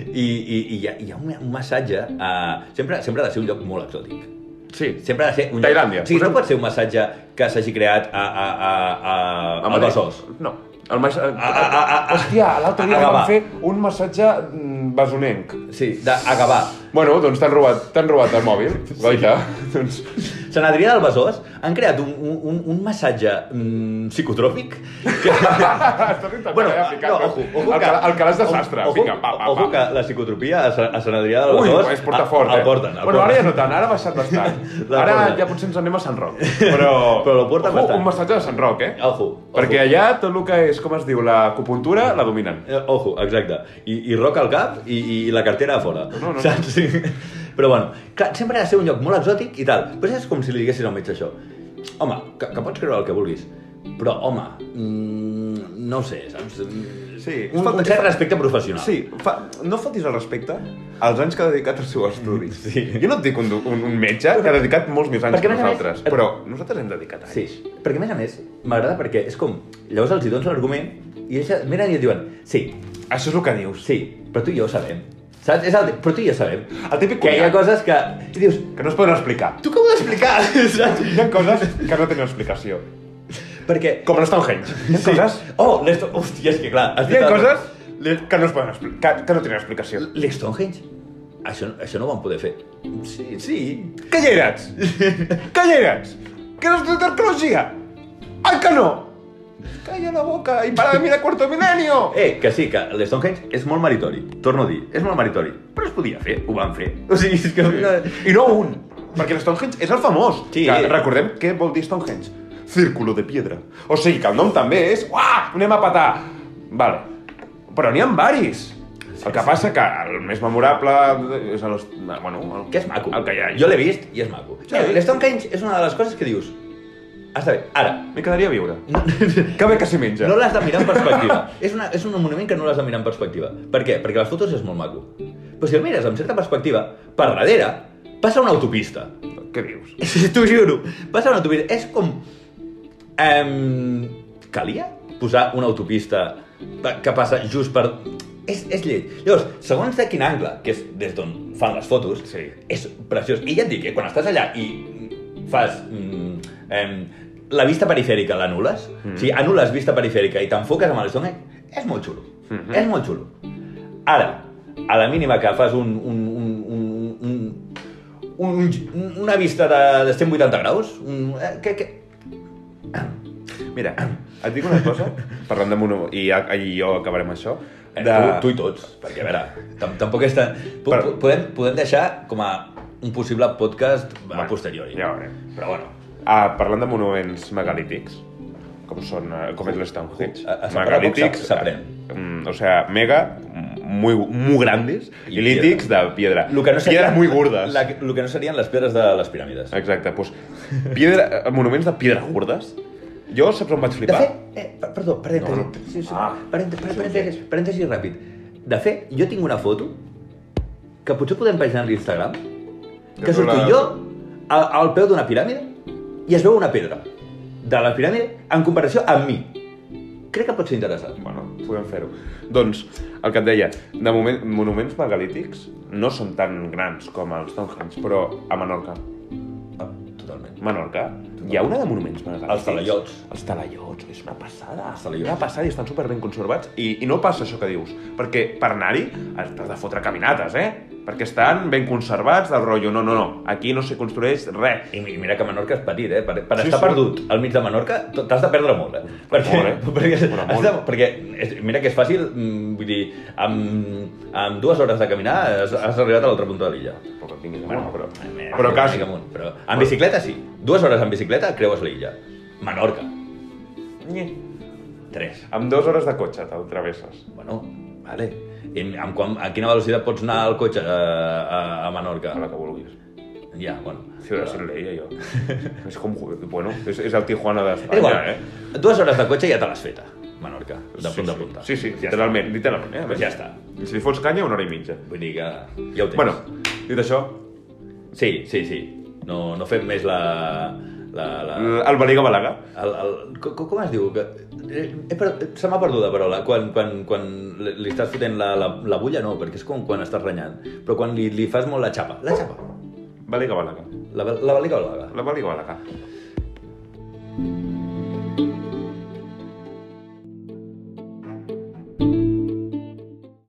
Speaker 1: I, i, i hi, ha, hi ha un, un massatge... Uh, sempre, sempre ha de ser un lloc molt exòtic.
Speaker 4: Sí,
Speaker 1: Sempre ha de ser un lloc...
Speaker 4: Tailàndia.
Speaker 1: O sigui,
Speaker 4: Posem-
Speaker 1: no pot ser un massatge que s'hagi creat a, a, a, a, a, a Besòs.
Speaker 4: No. El mas... a,
Speaker 1: a- a- a-
Speaker 4: Hòstia, l'altre dia
Speaker 1: a
Speaker 4: em
Speaker 1: Gavà.
Speaker 4: van fer un massatge mm, besonenc.
Speaker 1: Sí, de, a Gavà.
Speaker 4: Bueno, doncs t'han robat, t'han robat el mòbil, goita. doncs...
Speaker 1: Sant Adrià del Besòs han creat un, un, un- un massatge mm, psicotròpic que...
Speaker 4: <laughs> Estàs intentant allà ficar- el, que, el que l'has desastre.
Speaker 1: Ojo,
Speaker 4: Vinga, pa, pa, pa.
Speaker 1: ojo que la psicotropia a, Sa- a Sant Adrià del
Speaker 4: Ui,
Speaker 1: Besòs
Speaker 4: es porta fort,
Speaker 1: el,
Speaker 4: eh?
Speaker 1: el porten. El
Speaker 4: bueno, ara
Speaker 1: porten.
Speaker 4: ja no tant, ara ha baixat
Speaker 1: <laughs>
Speaker 4: bastant.
Speaker 1: La
Speaker 4: ara
Speaker 1: porten.
Speaker 4: ja potser ens anem a Sant
Speaker 1: <laughs>
Speaker 4: Roc. Però,
Speaker 1: Però la porten
Speaker 4: Ojo,
Speaker 1: bastant.
Speaker 4: Un massatge de Sant Roc, eh?
Speaker 1: Ojo, ojo.
Speaker 4: Perquè allà tot el que és, com es diu, l'acupuntura, la dominen.
Speaker 1: Eh, Ojo, exacte. I, i roca al cap i, i la cartera a fora.
Speaker 4: No, no.
Speaker 1: Saps? <laughs> Sí. Però bueno, clar, sempre ha de ser un lloc molt exòtic i tal. Però és com si li diguessis al metge això. Home, que, que pots creure el que vulguis, però home, mm, no ho sé, saps?
Speaker 4: Sí,
Speaker 1: un,
Speaker 4: falta-
Speaker 1: un cert respecte professional.
Speaker 4: Sí, fa... no fotis el respecte als anys que ha dedicat als seus estudis.
Speaker 1: Sí.
Speaker 4: Jo no et dic un, do- un, un metge que ha dedicat molts més anys
Speaker 1: Perquè,
Speaker 4: que
Speaker 1: a més a més,
Speaker 4: nosaltres,
Speaker 1: et-
Speaker 4: però nosaltres hem dedicat anys.
Speaker 1: Sí, perquè a més a més, m'agrada perquè és com, llavors els hi dones l'argument i ells miren i et diuen, sí,
Speaker 4: Això és el que dius.
Speaker 1: sí, però tu i jo ho sabem. Saps? És el, però tu i jo sabem.
Speaker 4: El típic
Speaker 1: Que hi ha
Speaker 4: cunyat.
Speaker 1: coses que... I dius,
Speaker 4: Que no es poden explicar.
Speaker 1: tu com ho d'explicar? <laughs> Saps?
Speaker 4: Hi ha coses que no tenen explicació.
Speaker 1: Perquè...
Speaker 4: Com l'Stonehenge. Hi ha coses,
Speaker 1: Oh, l'Esto... Hòstia, és que clar... has
Speaker 4: hi
Speaker 1: dit
Speaker 4: ha
Speaker 1: el-
Speaker 4: coses que no es poden explicar, que, que no tenen explicació.
Speaker 1: L'Stonehenge? Això, això no ho van poder fer. Sí, sí.
Speaker 4: Que hi eres? Que hi eres? Que no has tret arqueologia? Ai que no! Calla la boca i para de mirar Cuarto Milenio!
Speaker 1: Eh, que sí, que l'Stonehenge és molt meritori. Torno a dir, és molt meritori. Però es podia fer, ho van fer. O sigui, és que...
Speaker 4: I no un, perquè el Stonehenge és el famós.
Speaker 1: Sí.
Speaker 4: Que recordem què vol dir Stonehenge. Círculo de piedra. O sigui que el nom també és... Uah, anem a petar! Vale. Però n'hi ha varis. El que passa que el més memorable és el... Bueno, el,
Speaker 1: que és maco.
Speaker 4: El que hi ha.
Speaker 1: Jo l'he vist i és maco.
Speaker 4: Sí.
Speaker 1: Sí. L'Stonehenge és una de les coses que dius... Està bé, ara.
Speaker 4: M'hi quedaria a viure.
Speaker 1: No,
Speaker 4: Que bé que s'hi menja.
Speaker 1: no l'has de mirar en perspectiva.
Speaker 4: <laughs>
Speaker 1: és, una, és un monument que no l'has de mirar en perspectiva. Per què? Perquè a les fotos és molt maco. Però si el mires amb certa perspectiva, per darrere passa una autopista.
Speaker 4: Què dius?
Speaker 1: <laughs> T'ho juro. Passa una autopista. És com... Um, calia posar una autopista pa- que passa just per És, és lleig. Llavors, segons de quin angle, que és des d'on fan les fotos,
Speaker 4: Sí.
Speaker 1: és preciós. I ja et dic, eh, quan estàs allà i fas... Mm, em, la vista perifèrica l'anules, mm. o sigui, anules vista perifèrica i t'enfoques amb l'estómac, és molt xulo. Mm
Speaker 4: Mhm.
Speaker 1: -hmm. És molt xulo. Ara, a la mínima que fas un, un, un, un, un, un, un una vista de, de 180 graus, un, eh, que, que...
Speaker 4: Mira, et dic una cosa, parlant de mono... I, ja- i jo acabarem això.
Speaker 1: Eh,
Speaker 4: De...
Speaker 1: tu, tu i tots, perquè a veure, tam tampoc és tan... Po-
Speaker 4: Però-
Speaker 1: po- Podem, podem deixar com a un possible podcast a
Speaker 4: Bueno,
Speaker 1: posteriori.
Speaker 4: Ja veurem.
Speaker 1: Però bueno,
Speaker 4: Ah, parlant de monuments megalítics, com són, eh, com és l'Stonehenge.
Speaker 1: A- a Santa Poc s'ap- s'aprèn.
Speaker 4: mm, o sea, mega, muy, muy grandes,
Speaker 1: I
Speaker 4: y lítics de piedra.
Speaker 1: lo que no
Speaker 4: Piedras muy gordas.
Speaker 1: La, lo que no serien les pedres de les piràmides.
Speaker 4: Exacte, doncs, piedra, eh, monuments de piedres gordes. Jo saps on vaig
Speaker 1: De
Speaker 4: flipar?
Speaker 1: fet, eh, per- perdó, parèntesi,
Speaker 4: No, no.
Speaker 1: sí, sí,
Speaker 4: Ah.
Speaker 1: parèntesi, parèntesi, parèntesi ràpid. De fet, jo tinc una foto que potser podem penjar en l'Instagram, que
Speaker 4: tu
Speaker 1: surto
Speaker 4: la-
Speaker 1: jo al, al peu d'una piràmide i es veu una pedra de la piràmide en comparació amb mi. Crec que pot ser interessant.
Speaker 4: Bueno, podem fer-ho. Doncs, el que et deia, de moment, monuments megalítics no són tan grans com els Stonehenge, però a Menorca,
Speaker 1: Ah, totalment.
Speaker 4: Menorca, hi ha una de monuments megalítics.
Speaker 1: Els talaiots.
Speaker 4: Els talaiots, és una passada.
Speaker 1: Els talaiots.
Speaker 4: Una passada i estan super ben conservats. I, I no passa això que dius, perquè per anar-hi has t'has de fotre caminates, eh? Perquè estan ben conservats del rotllo. No, no, no, aquí no se construeix res.
Speaker 1: I mi- mira que Menorca és petit, eh? Per, per
Speaker 4: Sí,
Speaker 1: sí, estar
Speaker 4: sí.
Speaker 1: sí. perdut al mig de Menorca t- t'has de perdre molt, eh? Perquè,
Speaker 4: molt, eh?
Speaker 1: <laughs> perquè,
Speaker 4: Però
Speaker 1: has
Speaker 4: molt.
Speaker 1: de, perquè és, mira que és fàcil, mm, vull dir, amb, amb dues hores de caminar has, has arribat a l'altra punta de l'illa.
Speaker 4: Però que tinguis amunt, però...
Speaker 1: Eh,
Speaker 4: Però
Speaker 1: una
Speaker 4: quasi.
Speaker 1: mica Amunt, però... En bicicleta sí, dues hores en bicicleta creues l'illa. Menorca, eh.
Speaker 4: Nye.
Speaker 1: tres.
Speaker 4: Amb dues hores de cotxe te'l travesses.
Speaker 1: Bueno, vale. I amb quan, a quina velocitat pots anar al cotxe a, a, a Menorca?
Speaker 4: A la que vulguis.
Speaker 1: Ja, bueno.
Speaker 4: Ciudad
Speaker 1: <laughs>
Speaker 4: sin ley, yo. Es como, bueno, es, es el Tijuana de España,
Speaker 1: És igual,
Speaker 4: eh?
Speaker 1: dues hores de cotxe ja te l'has feta, Menorca, de
Speaker 4: sí,
Speaker 1: punta a
Speaker 4: sí.
Speaker 1: punta.
Speaker 4: Sí, sí,
Speaker 1: Ja està.
Speaker 4: literalment, literalment, eh?
Speaker 1: Pues ja està.
Speaker 4: Si li fots canya, una hora i mitja.
Speaker 1: Vull dir que ja ho tens.
Speaker 4: Bueno, dit això,
Speaker 1: Sí, sí, sí. No, no fem més la... la, la
Speaker 4: l- el Baliga Balaga.
Speaker 1: el, el, co- co- com es diu? Que, eh, he per- se m'ha perdut la paraula. Quan, quan, quan li li estàs fotent la, la, la bulla, no, perquè és com quan estàs renyant. Però quan li, li fas molt la xapa. La xapa.
Speaker 4: Baliga Balaga.
Speaker 1: La, la balica o la baga.
Speaker 4: La Baliga Balaga.